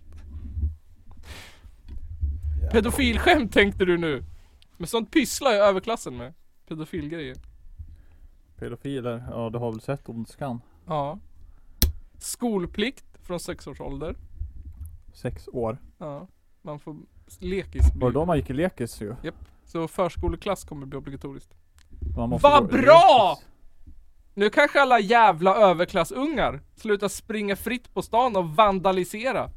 B: Pedofilskämt tänkte du nu. Men sånt pysslar ju överklassen med. Pedofilgrejer.
A: Pedofiler. Ja du har väl sett Ondskan?
B: Ja. Skolplikt från sex års ålder.
A: Sex år.
B: Ja. Man får lekis. blir-
A: Var det då man gick i lekis ju?
B: Så förskoleklass kommer bli obligatoriskt.
A: Man måste
B: Vad
A: gå i
B: bra!
A: lekis.
B: Nu kanske alla jävla överklassungar slutar springa fritt på stan och vandalisera.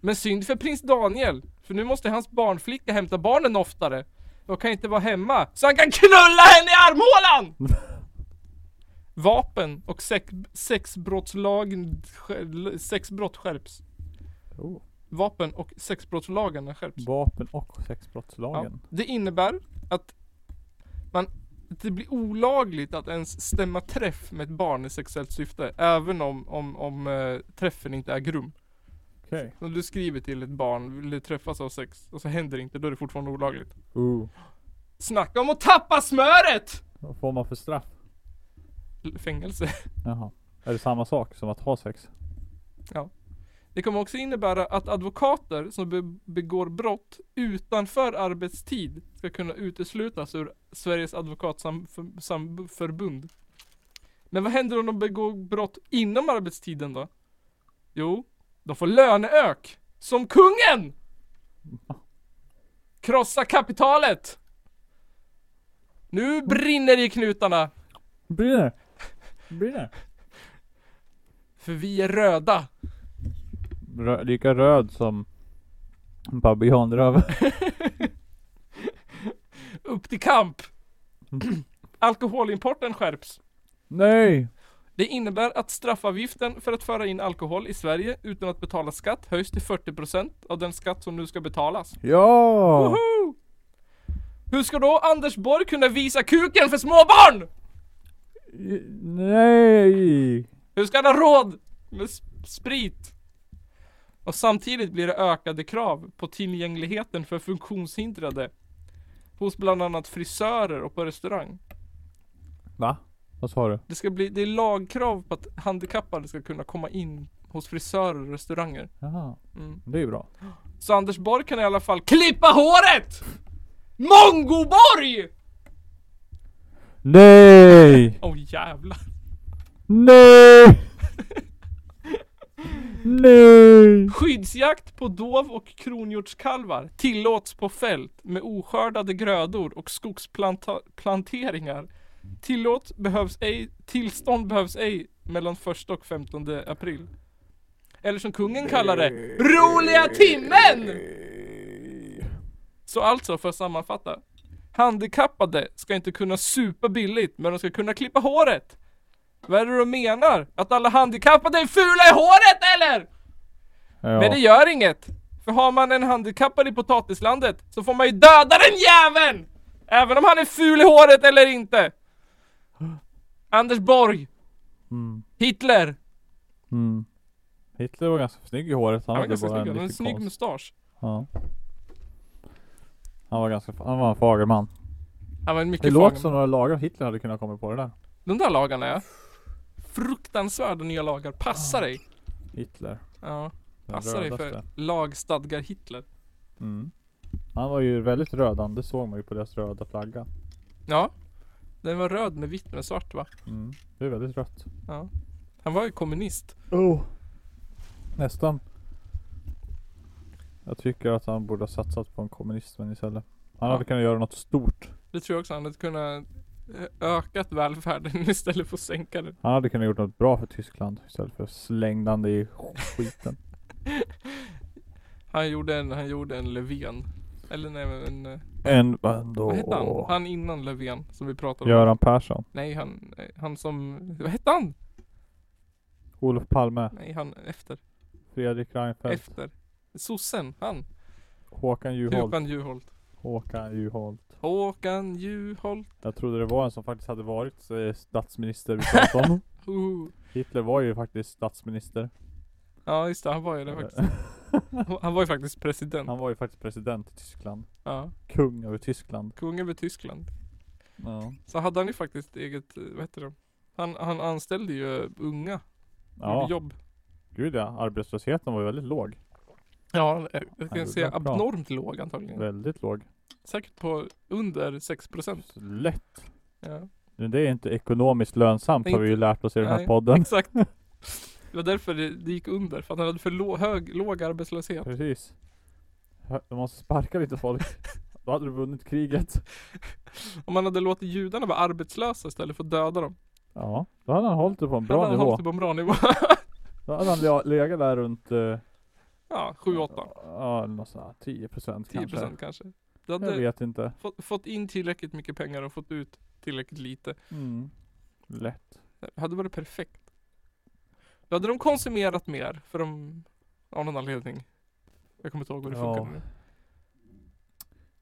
B: Men synd för prins Daniel, för nu måste hans barnflicka hämta barnen oftare. Och kan inte vara hemma, så han kan knulla henne i armhålan! Vapen och sex, sexbrottslagen, skär- sexbrott skärps.
A: Oh.
B: Vapen och sexbrottslagarna skärps.
A: Vapen och
B: Ja.
A: sexbrottslagen.
B: Det innebär att man, att det blir olagligt att ens stämma träff med ett barn i sexuellt syfte. Även om, om, om eh, träffen inte är grum.
A: Okej.
B: Om du skriver till ett barn, vill du träffas av sex? Och så händer det inte, då är det fortfarande olagligt.
A: Oh.
B: Snacka om att tappa smöret!
A: Vad får man för straff?
B: L- Fängelse.
A: Jaha. Är det samma sak som att ha sex?
B: Det kommer också innebära att advokater som be begår brott utanför arbetstid ska kunna uteslutas ur Sveriges advokatförbund. Men vad händer om de begår brott inom arbetstiden då? Jo, de får löneök. Som kungen! Krossa kapitalet! Nu brinner det i knutarna.
A: Brinner! Brinner!
B: För vi är röda.
A: Rö- lika röd som en babianröv.
B: Upp till kamp. Alkoholimporten skärps.
A: Nej!
B: Det innebär att straffavgiften för att föra in alkohol i Sverige utan att betala skatt höjs till 40% av den skatt som nu ska betalas.
A: Ja!
B: Woho! Hur ska då Anders Borg kunna visa kuken för småbarn?
A: I- Nej!
B: Hur ska han ha råd med sp- sprit? Och samtidigt blir det ökade krav på tillgängligheten för funktionshindrade hos bland annat frisörer och på restaurang.
A: Va? Vad sa du?
B: Det ska bli, det är lagkrav på att handikappade ska kunna komma in hos frisörer och restauranger.
A: Jaha,
B: Mm.
A: det är ju bra.
B: Så Anders Borg kan i alla fall klippa håret! Mongoborg!
A: Nej!
B: Åh oh, jävlar.
A: Nej! Nej!
B: Skyddsjakt på dov och kronhjortskalvar tillåts på fält med oskördade grödor och skogsplanteringar. Tillåt behövs ej, tillstånd behövs ej mellan 1 och 15 april. Eller som kungen kallar det, roliga timmen! Så alltså, för att sammanfatta. Handikappade ska inte kunna supa billigt, men de ska kunna klippa håret. Vad är det du menar? Att alla handikappade är fula i håret eller?
A: Ja.
B: Men det gör inget! För har man en handikappad i potatislandet så får man ju döda den jäveln! Även om han är ful i håret eller inte! Anders Borg!
A: Mm.
B: Hitler!
A: Mm. Hitler var ganska snygg i håret. Han
B: Han var
A: hade
B: ganska snygg,
A: bara en
B: han hade en
A: liten
B: snygg
A: konst.
B: mustasch.
A: Ja. Han var ganska, han var en fager man.
B: Han var en
A: Det
B: mycket
A: låter
B: fagen.
A: som några lagar Hitler hade kunnat komma på det där.
B: De där lagarna ja. Fruktansvärda nya lagar. Passa dig!
A: Hitler.
B: Ja,
A: den
B: passa dig för
A: rödaste.
B: lagstadgar Hitler.
A: Mm. Han var ju väldigt rödan, det såg man ju på deras röda flagga.
B: Ja. Den var röd med vitt med svart va?
A: Mm. Det är väldigt rött.
B: Ja. Han var ju kommunist.
A: Oh. Nästan. Jag tycker att han borde ha satsat på en kommunismen istället. Han hade
B: Ja.
A: kunnat göra något stort.
B: Det tror jag också han hade kunnat eh, ökat välfärden istället för att sänka den.
A: Han hade kunnat gjort något bra för Tyskland istället för slängdande i skiten.
B: Han gjorde en, han gjorde en Löfven. Eller nej men en, eh,
A: En ändå.
B: vad hette han? Han innan Löfven som vi pratade om.
A: Göran Persson.
B: Nej han, eh, han som, vad hette han?
A: Olof Palme.
B: Nej han efter,
A: Fredrik Reinfeldt.
B: efter. Sossen, han.
A: Håkan Juholt.
B: Håkan Juholt.
A: Håkan Juholt.
B: Håkan Juholt.
A: Jag trodde det var en som faktiskt hade varit eh, statsminister vi pratade om.
B: Uh.
A: Hitler var ju faktiskt statsminister.
B: Ja just det, han var ju det faktiskt. Han var ju faktiskt president.
A: Han var ju faktiskt president i Tyskland.
B: Ja.
A: Kung över Tyskland.
B: Kung över Tyskland.
A: Ja.
B: Så hade han ju faktiskt eget, eh, vad heter det? Han, han anställde ju eh, unga. Ja.
A: ja.
B: Jobb.
A: Gud ja. Arbetslösheten var ju väldigt låg.
B: Ja, eh, jag kan
A: gjorde
B: säga
A: bra.
B: abnormt låg antagligen.
A: Väldigt låg.
B: Säkert på under 6%.
A: Lätt.
B: Ja.
A: Men det är inte ekonomiskt lönsamt har vi ju lärt oss i den här
B: Nej,
A: podden.
B: Exakt. Det var därför det, det gick under, för att han hade för lå- hög, låg
A: Mm.
B: arbetslöshet.
A: Precis. Hö- De måste sparka lite folk. Då hade du vunnit kriget.
B: Om man hade låtit judarna vara arbetslösa istället för att döda dem.
A: Ja, då hade han hållit det på en bra
B: hade han
A: nivå.
B: hållit det på en bra nivå.
A: Då hade han le- legat där runt eh,
B: ja, 7-8.
A: Ja, eller något sånt här, 10 procent
B: 10%
A: kanske.
B: kanske. Det
A: Jag
B: hade
A: vet inte.
B: fått, fått in tillräckligt mycket pengar och fått ut tillräckligt lite.
A: Mm. Lätt.
B: Det hade varit perfekt. Då hade de konsumerat mer, för de, av någon anledning. Jag kommer inte ihåg hur det
A: Ja.
B: funkade nu.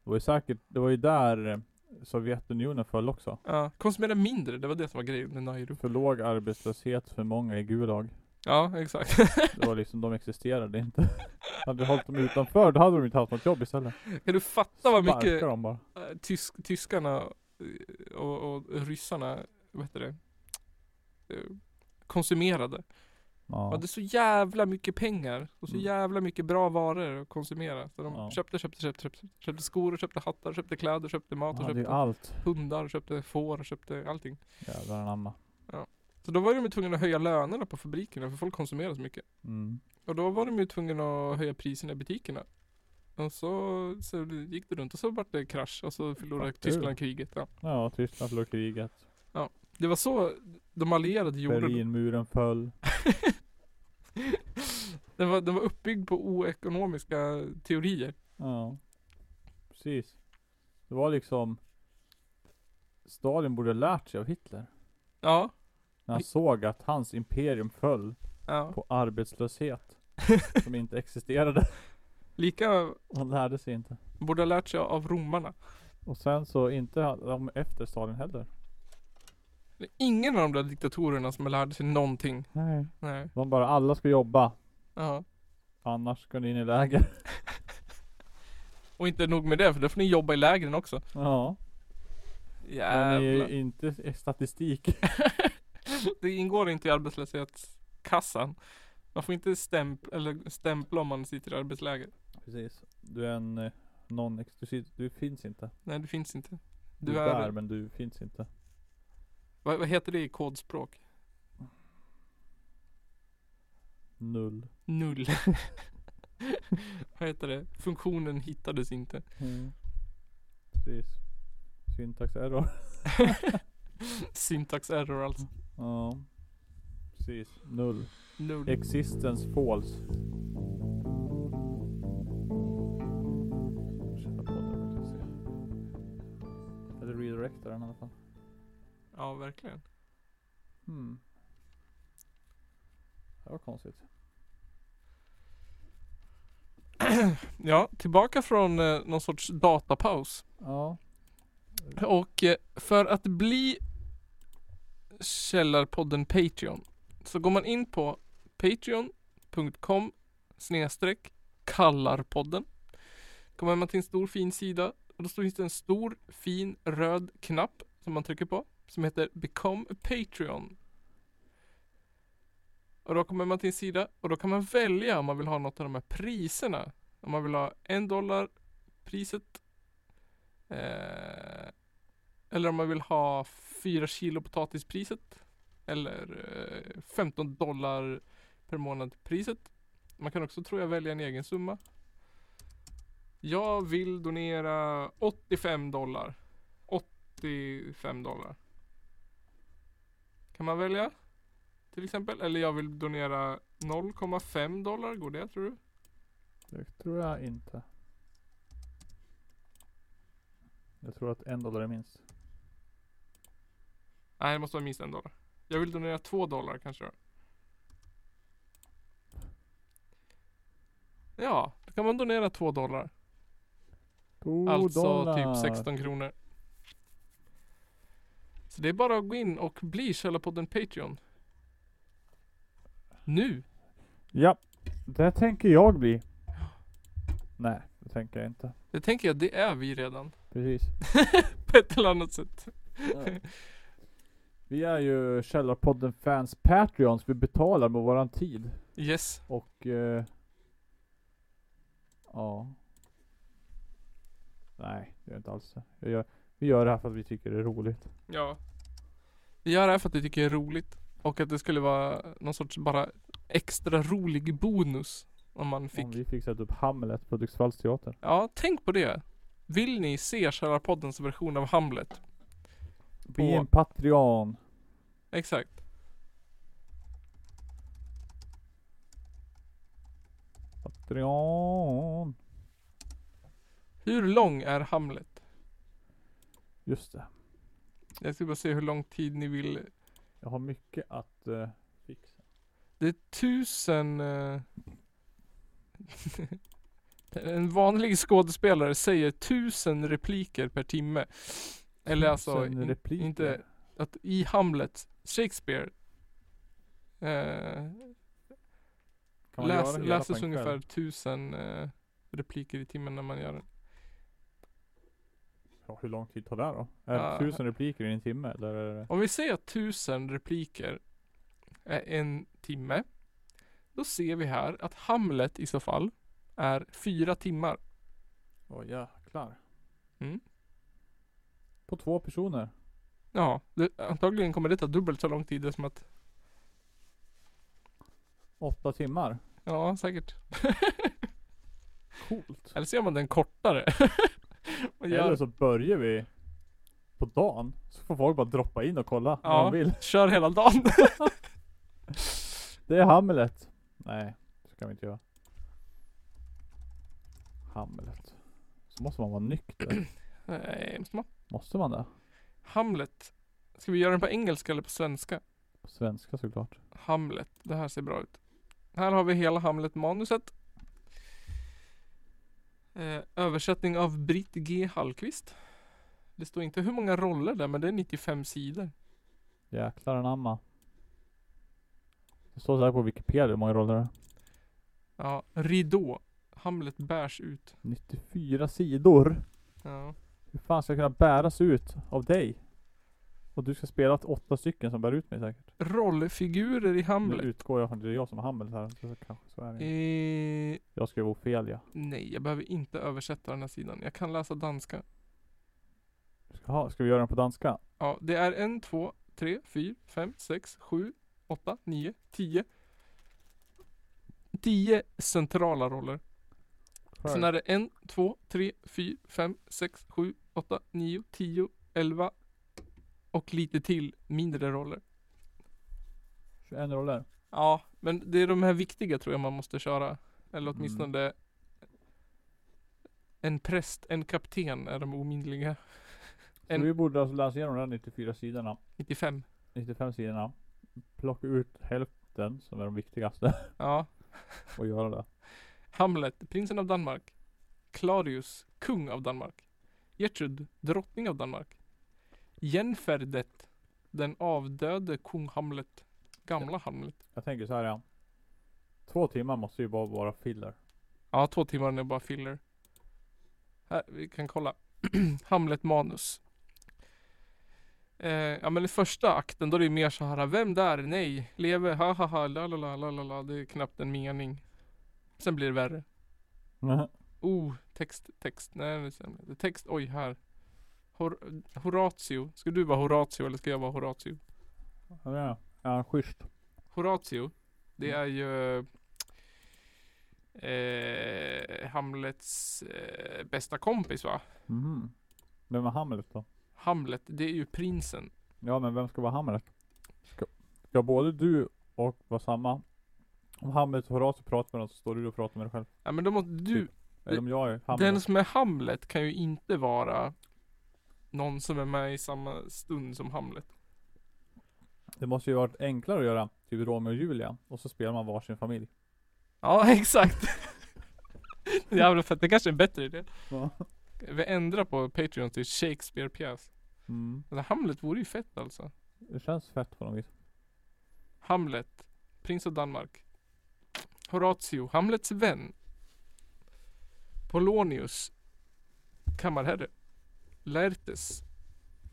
A: Det var ju säkert, det var ju där eh, Sovjetunionen föll också.
B: Ja, konsumera mindre, det var det som var grejen med Nairo.
A: För låg arbetslöshet, för många i Gulag.
B: Ja, exakt.
A: Det var liksom, de existerade inte. Hade du hållit dem utanför, då hade de inte haft något jobb istället.
B: Kan du fatta vad
A: Sparka
B: mycket
A: dem bara.
B: eh, tysk, tyskarna eh, och, och ryssarna, vad heter det? Eh, Konsumerade. De
A: Ja.
B: hade så jävla mycket pengar och så
A: Mm.
B: jävla mycket bra varor att konsumera. Så de
A: Ja.
B: köpte, köpte, köpte, köpte, köpte skor och köpte hattar, köpte kläder, köpte mat och
A: Ja, det är ju
B: köpte
A: allt.
B: hundar, köpte får och köpte allting.
A: Jävlar anamma.
B: Så då var de ju tvungna att höja lönerna på fabrikerna för folk konsumerade så mycket.
A: Mm.
B: Och då var de ju tvungna att höja priserna i butikerna. Och så, så gick det runt och så vart det krasch och så förlorade
A: Fattar du?
B: Tyskland kriget. Ja.
A: Ja, Tyskland förlorade kriget.
B: Det var så de allierade gjorde.
A: Berlinmuren föll.
B: Den var, den var uppbyggd på oekonomiska teorier.
A: Ja. Precis. Det var liksom Stalin borde ha lärt sig av Hitler.
B: Ja.
A: När han såg att hans imperium föll
B: ja.
A: på arbetslöshet. som inte existerade.
B: Lika
A: Han lärde sig inte.
B: borde ha lärt sig av romarna.
A: Och sen så inte ha- de efter Stalin heller.
B: Det är ingen av de där diktatorerna som lärde sig någonting.
A: Nej.
B: Nej.
A: De bara, alla ska jobba.
B: Ja.
A: Annars ska ni in i läger.
B: Och inte nog med det, för då får ni jobba i lägren också.
A: Ja. Men
B: Jävlar.
A: i, inte i statistik.
B: Det ingår inte i arbetslöshetskassan. Man får inte stämp eller stämpla om man sitter i arbetsläger.
A: Precis. Du är en eh, non-exklusiv. Du finns inte.
B: Nej, det finns inte.
A: Du,
B: Du
A: är där
B: är,
A: men du finns inte.
B: vad, vad heter det i kodspråk?
A: Null.
B: Null. vad heter det? Funktionen hittades inte.
A: Precis. Syntax error.
B: Syntax error alltså.
A: Ja. Precis. Null.
B: Null.
A: Existence falls. Köra på det, vi kan se. Eller redirecta den i alla fall.
B: Ja, verkligen.
A: Hmm. Det var konstigt.
B: Ja, tillbaka från eh, någon sorts datapaus.
A: Ja.
B: Och eh, för att bli Källarpodden Patreon så går man in på patreon.com snedstreck kallarpodden. Kommer man till en stor fin sida och då finns det en stor fin röd knapp som man trycker på som heter Become a Patreon. Och då kommer man till en sida och då kan man välja om man vill ha något av de här priserna. Om man vill ha en dollar priset Eh, eller om man vill ha 4 kilo potatispriset. Eller eh, 15 dollar per månad priset. Man kan också tror jag välja en egen summa. Jag vill donera 85 dollar. 85 dollar. Kan man välja? Till exempel. Eller jag vill donera 0,5 dollar. Går det tror du?
A: Det tror jag inte. Jag tror att en dollar är minst.
B: Nej, det måste vara minst en dollar. Jag vill donera två dollar kanske då. Ja, då kan man donera två dollar.
A: God
B: alltså
A: dollar.
B: typ 16 kronor. Så det är bara att gå in och bli Källarpodden Patreon. Nu!
A: Ja. Det tänker jag bli. Nej, det tänker jag inte.
B: Det tänker jag, det är vi redan.
A: Precis.
B: På ett eller annat sätt.
A: Vi är ju Källarpodden Fans Patreons. Vi betalar med våran tid.
B: Yes.
A: Och... Eh, ja. Nej, det gör inte alls det. Jag gör, vi gör det här för att vi tycker det är roligt.
B: Ja. Vi gör det här för att vi tycker det är roligt. Och att det skulle vara någon sorts bara extra rolig bonus. Om man fick
A: Om vi fick sätta upp Hamlet på Hudiksvallsteatern.
B: Ja, tänk på det. Vill ni se Källarpoddens version av Hamlet?
A: Bli en Patreon.
B: Exakt.
A: Patreon.
B: Hur lång är Hamlet?
A: Just det.
B: Jag ska bara se hur lång tid ni vill.
A: Jag har mycket att eh, fixa.
B: Det är tusen... eh, en vanlig skådespelare säger tusen repliker per timme. Eller alltså,
A: Tusen
B: in-
A: repliker.
B: inte att i Hamlet, Shakespeare. Eh,
A: Kan man göra det hela
B: läs,
A: på
B: läses
A: en kväll?
B: ungefär tusen eh, repliker i timmen när man gör den.
A: Ja, hur lång tid tar det här då? Är det
B: Ja.
A: tusen repliker i en timme eller? Är det...
B: Om vi säger att tusen repliker är en timme. Då ser vi här att Hamlet i så fall är fyra timmar.
A: Åh jäklar.
B: Mm.
A: På två personer?
B: Ja, det, antagligen kommer det ta dubbelt så lång tid som att,
A: Åtta timmar?
B: ja säkert.
A: Coolt.
B: Eller så gör man den kortare. Och
A: Eller
B: gör,
A: så börjar vi på dagen. Så får folk bara droppa in och kolla när
B: Ja.
A: de vill.
B: Kör hela dagen.
A: Det är Hamlet. Nej, så kan vi inte göra. Hamlet. Så måste man vara nykter.
B: Nej, måste man?
A: Måste man det?
B: Hamlet. Ska vi göra den på engelska eller på svenska?
A: På svenska såklart.
B: Hamlet. Det här ser bra ut. Här har vi hela Hamlet-manuset. Eh, översättning av Britt G Hallqvist. Det står inte hur många roller där, men det är 95 sidor.
A: Jäklar anamma. Det står så här på Wikipedia hur många roller det är.
B: Ja, ridå. Hamlet bärs ut.
A: 94 sidor.
B: Ja.
A: Hur fan ska jag kunna bäras ut av dig? Och du ska spela åt åtta stycken som bär ut mig säkert.
B: Rollfigurer i
A: Nu
B: Hamlet.
A: utgår jag från att det är jag som har Hamlet här. Så kanske så är det.
B: Eh,
A: Jag skrev Ofelia.
B: nej, jag behöver inte översätta den här sidan. Jag kan läsa danska.
A: Ska, ha, ska vi göra den på danska?
B: Ja, det är en, två, tre, fyra, fem, sex, sju, åtta, nio, tio. Tio centrala roller. Sen är det en, två, tre, fyra, fem, sex, sju, åtta, nio, tio, elva och lite till mindre roller.
A: 21 roller.
B: Ja, men det är de här viktiga tror jag man måste köra. Eller
A: Mm.
B: åtminstone en präst, en kapten är de ominliga.
A: Så
B: En-
A: vi borde alltså läsa igenom de här 94 sidorna.
B: 95.
A: 95 sidorna. Plocka ut hälften som är de viktigaste
B: Ja.
A: och göra det.
B: Hamlet, prinsen av Danmark. Claudius, kung av Danmark. Gertrud, drottning av Danmark. Jenferdet, den avdöde kung Hamlet. Gamla Hamlet.
A: Jag tänker så här ja. Två timmar måste ju bara vara filler.
B: Ja, två timmar är bara filler. Här, vi kan kolla. Hamlet manus. Eh, ja men i första akten då är det mer så här, vem där? Nej, leve, ha ha ha, la la la la la la. Det är knappt en mening. Sen blir det värre. Oh, text, text. Nej, det är sämre. Text, oj här. Hor Horatio. Ska du vara Horatio eller ska jag vara Horatio?
A: Ja, ja. ja schysst.
B: Horatio, det
A: Mm.
B: är ju eh, Hamlets eh, bästa kompis va?
A: Mhm. Vem är Hamlet då?
B: Hamlet, det är ju prinsen.
A: Ja men vem ska vara Hamlet? Ska, ska både du och vara samma? Om Hamlet och Horatio pratar med varandra så står du och pratar med dig själv.
B: Ja men då måste du,
A: Eller om jag är
B: den
A: Hamlet.
B: som är Hamlet kan ju inte vara någon som är med i samma stund som Hamlet.
A: Det måste ju varit enklare att göra typ Romeo och Julia och så spelar man varsin familj.
B: Ja, exakt. Jävla fett, det kanske är en bättre idé.
A: Ja.
B: Vi ändrar på Patreon till Shakespeare-pjäs.
A: Mm.
B: Alltså Hamlet vore ju fett alltså.
A: Det känns fett på något vis.
B: Hamlet, prins av Danmark. Horatio, Hamlets vän. Polonius, kammarherre. Laertes,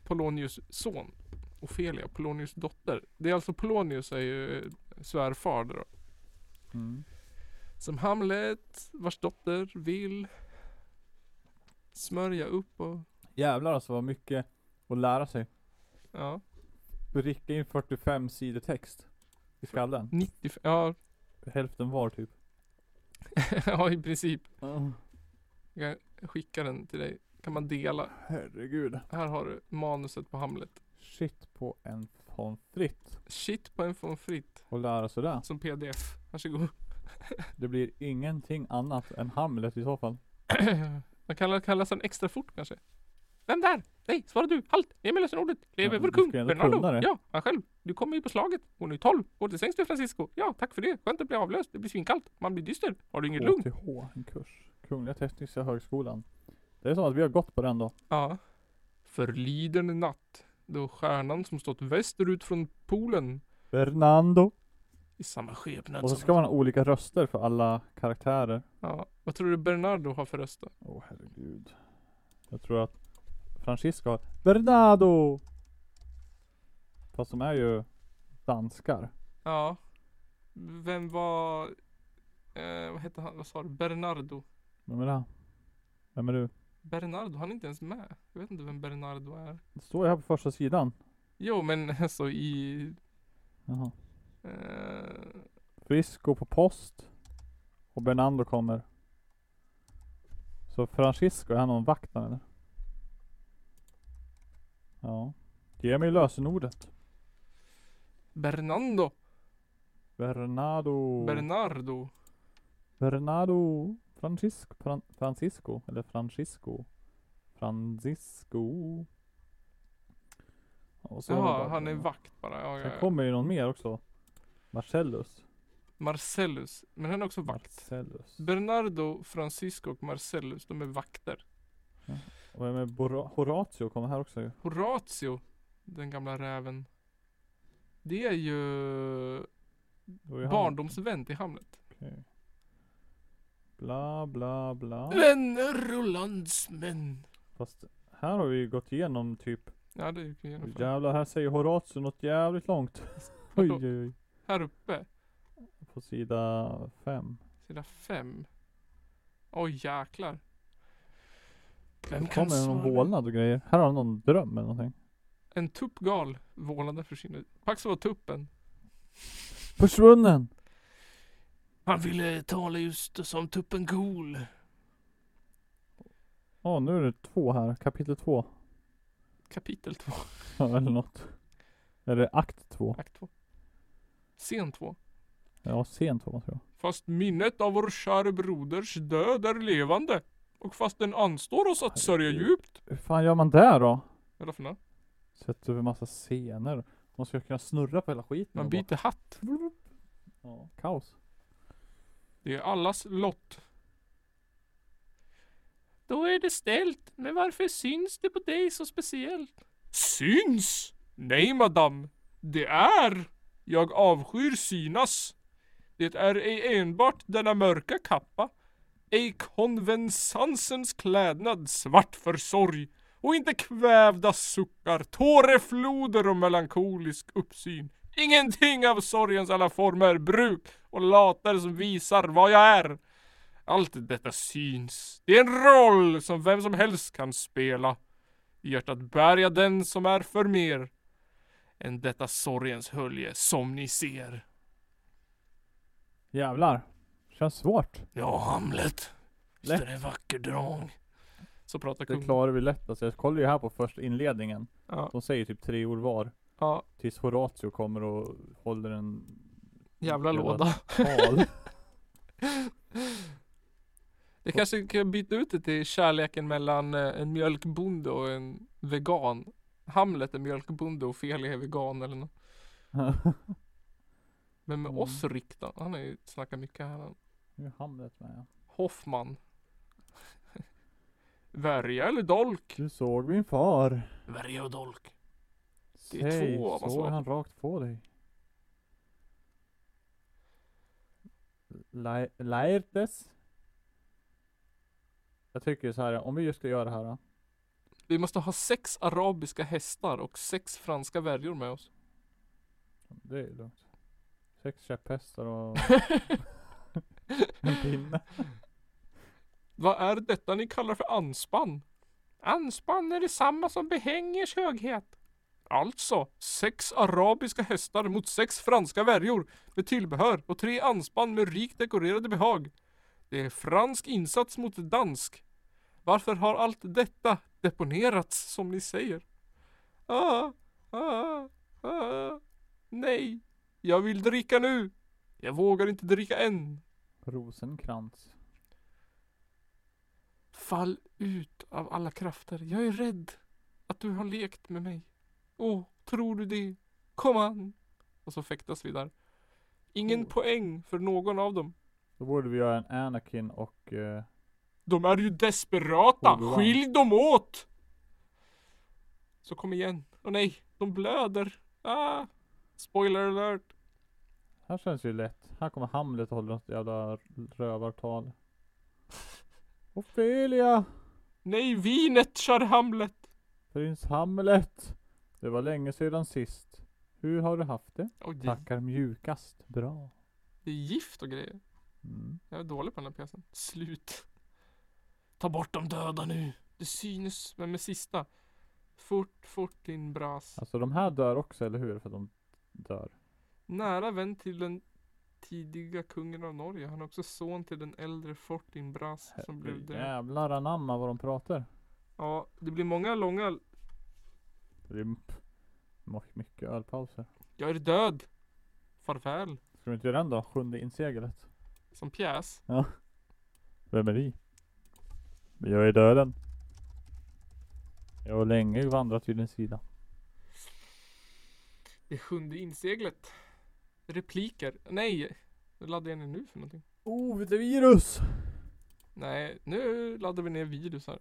B: Polonius son. Ofelia, Polonius dotter. Det är alltså Polonius är ju eh, svärfar då.
A: Mm.
B: Som Hamlet, vars dotter vill smörja upp och
A: Jävlar alltså vad mycket att lära sig.
B: ja.
A: Bricka in 45 sidor text i skallen.
B: 90, ja,
A: Hälften var typ.
B: ja i princip. Jag skickar den till dig. Kan man dela.
A: Herregud.
B: Här har du manuset på Hamlet.
A: Shit på en pommes frites.
B: Shit på en von Fritt
A: Och lära sig det.
B: som pdf. Varsågod.
A: Det blir ingenting annat än Hamlet i så fall.
B: Man kan, kan läsa den extra fort kanske. Vem där? Nej, svara du. Halt! Ge mig lösenordet. Leve
A: Ja,
B: vår
A: du
B: kung.
A: ska ju ändå
B: Bernardo.
A: kunna det.
B: Ja, han själv. Du kommer ju på slaget. Hon är 12. Går till sängs du Francisco. Ja, tack för det. Skönt att bli avlöst. Det blir svinkallt. Man blir dyster. Har du inget lugn?
A: KTH, en kurs. Kungliga Tekniska Högskolan. Det är som att vi har gått på den då.
B: Ja. Förliden natt. Då stjärnan som stått västerut från polen.
A: Fernando.
B: I samma skepnad
A: Och så
B: som-
A: ska man ha olika röster för alla karaktärer.
B: Ja. Vad tror du Bernardo har för röst då?
A: Åh oh, herregud. Jag tror att Francisco har Bernardo. Fast de är ju danskar.
B: Ja. Vem var... Eh, vad hette han? Vad sa du? Bernardo.
A: Vem är det? Vem är du?
B: Bernardo, han är inte ens med. Jag vet inte vem Bernardo är.
A: Det står ju här på första sidan.
B: Jo, men alltså i...
A: Jaha.
B: Eh,
A: Frisco på post. Och Bernardo kommer. Så Francisco, är han någon vakt där, eller? Ja. Ge mig lösenordet.
B: Bernardo.
A: Bernardo.
B: Bernardo.
A: Bernardo. Francisco. Fran- Francisco. Eller Francisco. Francisco. Och så
B: Jaha,
A: bara-
B: han är vakt bara. Ja, ja,
A: Sen
B: ja.
A: kommer ju någon mer också. Marcellus.
B: Marcellus. Men han är också vakt.
A: Marcellus.
B: Bernardo, Francisco och Marcellus, de är vakter.
A: Och vem är Bora- Horatio? Kommer här också ju.
B: Horatio, den gamla räven. Det är ju
A: Det var ju han.
B: barndomsvän till Hamlet.
A: Okej. Bla bla bla.
B: Vänner och landsmän.
A: Fast här har vi ju gått igenom typ.
B: Ja, det gick vi igenom för.
A: Jävlar här säger Horatio något jävligt långt. oj oj oj.
B: Här uppe,
A: På sida fem.
B: sida fem. Oj jäklar. Vem
A: Det kommer
B: svara?
A: någon vålnad och grejer. Här har han någon dröm eller någonting.
B: En tuppgal vålade för sin... Pax var tuppen.
A: Försvunnen!
B: Han ville tala just som tuppen Gol.
A: Åh nu är det två här. Kapitel två.
B: Kapitel 2,
A: Ja, eller något. Eller akt två.
B: akt 2. Scen 2.
A: Ja sent två tror jag.
B: Fast minnet av vår käre broders död är levande. Och fast den anstår oss att sörja
A: Herregud.
B: djupt.
A: Hur fan gör man där då?
B: Eller för något?
A: Sätter över massa scener. Man ska kunna snurra på hela skiten.
B: Man
A: och
B: byter hatt.
A: bara- Ja, kaos.
B: Det är allas lott. Då är det ställt. Men varför syns det på dig så speciellt? Syns? Nej madam. Det är. Jag avskyr synas. Det är ej enbart denna mörka kappa. Ej konvensansens klädnad svart för sorg. Och inte kvävda suckar, tårefloder och melankolisk uppsyn. Ingenting av sorgens alla former, bruk och later som visar vad jag är. Allt detta syns. Det är en roll som vem som helst kan spela. I hjärtat bär jag den som är för mer än detta sorgens hölje som ni ser.
A: Jävlar. Känns svårt.
B: Ja, Hamlet. Visst
A: Lätt.
B: är det en vacker drang. Så pratar
A: Det
B: kungen.
A: klarar vi lätt. Alltså jag kollar ju här på först inledningen.
B: Mm. Ja,
A: De säger typ tre ord var.
B: ja,
A: Tills Horatio kommer och håller en
B: jävla
A: Jävla-
B: låda.
A: tal.
B: Jag kanske kan byta ut det till kärleken mellan eh, en mjölkbonde och en vegan. Hamlet är mjölkbonde och Felia är vegan eller något. Men med
A: Mm.
B: oss riktar han har ju snackat mycket här. han.
A: nu är Hamlet med ja.
B: Hoffman. Värja eller dolk?
A: Du såg min far.
B: Värja och dolk. Det är
A: Säg,
B: två av oss,
A: såg
B: va?
A: han rakt på dig? Lai- Laertes? Jag tycker så här, om vi just ska göra det här. då.
B: Vi måste ha sex arabiska hästar och sex franska värjor med oss.
A: Det är lugnt. Sex käpphästar och en pinne.
B: Vad är detta ni kallar för anspann? Anspann är detsamma som behängers höghet. Alltså, sex arabiska hästar mot sex franska värjor med tillbehör och tre anspann med rikt dekorerade behag. Det är fransk insats mot dansk. Varför har allt detta deponerats som ni säger? Ah, ah, ah. Nej, jag vill dricka nu. Jag vågar inte dricka än.
A: Rosenkrantz.
B: Fall ut av alla krafter. Jag är rädd att du har lekt med mig. Åh, tror du det? Kom an! Och så fäktas vi där. Ingen
A: Oh.
B: poäng för någon av dem.
A: Då borde vi göra en Anakin och eh,
B: De är ju desperata!
A: Obi-Wan.
B: Skilj dem åt! Så kom igen. Åh nej, de blöder. Ah! Spoiler alert.
A: här känns ju lätt. Här kommer Hamlet och håller något jävla rövartal. Ofelia!
B: Nej, vinet kör Hamlet.
A: Prins Hamlet! Det var länge sedan sist. Hur har du haft det?
B: Oj, det-
A: Tackar mjukast. Bra.
B: det är gift och grejer.
A: Mm.
B: Jag är dålig på den här pjäsen. Slut. Ta bort de döda nu. Det synes, men med sista. Fort, fort din bras.
A: Alltså de här dör också, eller hur? För att de dör.
B: Nära vän till den tidiga kungen av Norge. Han är också son till den äldre Fortin Bras som blev dräpt.
A: Jävlar anamma vad de pratar.
B: Ja, det blir många långa
A: Det är m- m- mycket ölpauser.
B: Jag är död. Farväl.
A: Ska vi inte göra den då? Sjunde inseglet.
B: Som pjäs.
A: Vem är vi? Men Jag är döden. Jag har länge vandrat vid din sida.
B: Det sjunde inseglet. Repliker. Nej. Nu laddar jag ner nu för någonting.
A: Oh, det virus!
B: Nej, nu laddar vi ner virus här.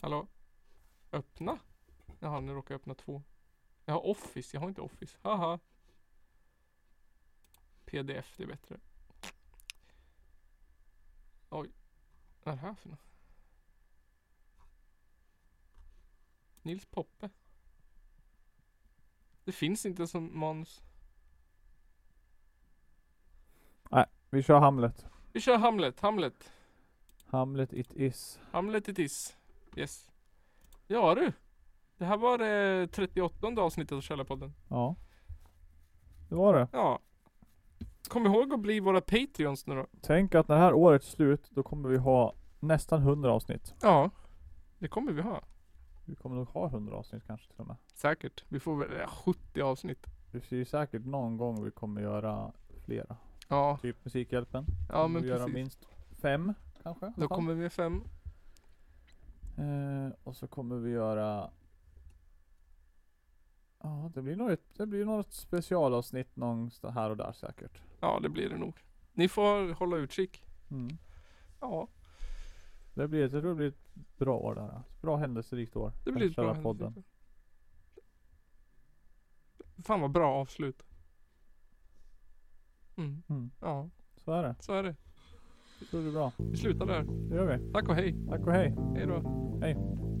B: Hallå? Öppna? Jaha, nu råkar jag öppna två. Jag har Office, jag har inte Office. Haha. PDF, det är bättre. Oj. Vad är det här för något? Nils Poppe. Det finns inte som manus.
A: Vi kör Hamlet.
B: Vi kör Hamlet, Hamlet.
A: Hamlet it is.
B: Hamlet it is. Yes. Ja du. Det här var det 38 avsnittet av Källarpodden.
A: Ja. Det var det.
B: Ja. Kom ihåg att bli våra Patreons nu då.
A: Tänk att när det här året är slut, då kommer vi ha nästan 100 avsnitt.
B: Ja. Det kommer vi ha.
A: Vi kommer nog ha 100 avsnitt kanske till och med.
B: Säkert. Vi får väl ja, 70 avsnitt.
A: Det är ju säkert någon gång vi kommer göra flera.
B: Ja.
A: Typ Musikhjälpen.
B: Ja
A: Kommer
B: men
A: vi göra
B: precis.
A: minst fem kanske. i alla
B: Då
A: fall.
B: kommer vi fem.
A: Eh, och så kommer vi göra Ja, det blir nog ett, det blir något specialavsnitt någonstans här och där säkert.
B: Ja det blir det nog. Ni får hålla utkik.
A: Mm.
B: Ja.
A: Det blir, jag tror det blir ett bra år det här. Ett bra händelserikt år. för
B: Det blir ett bra
A: Källarpodden.
B: händelse. Fan vad bra avslut. Mm.
A: Mm.
B: Ja.
A: Så är det.
B: Så är det.
A: Jag tror det är bra.
B: Vi slutar där.
A: Det gör vi.
B: Tack och hej.
A: Tack och hej.
B: Hej då.
A: Hej.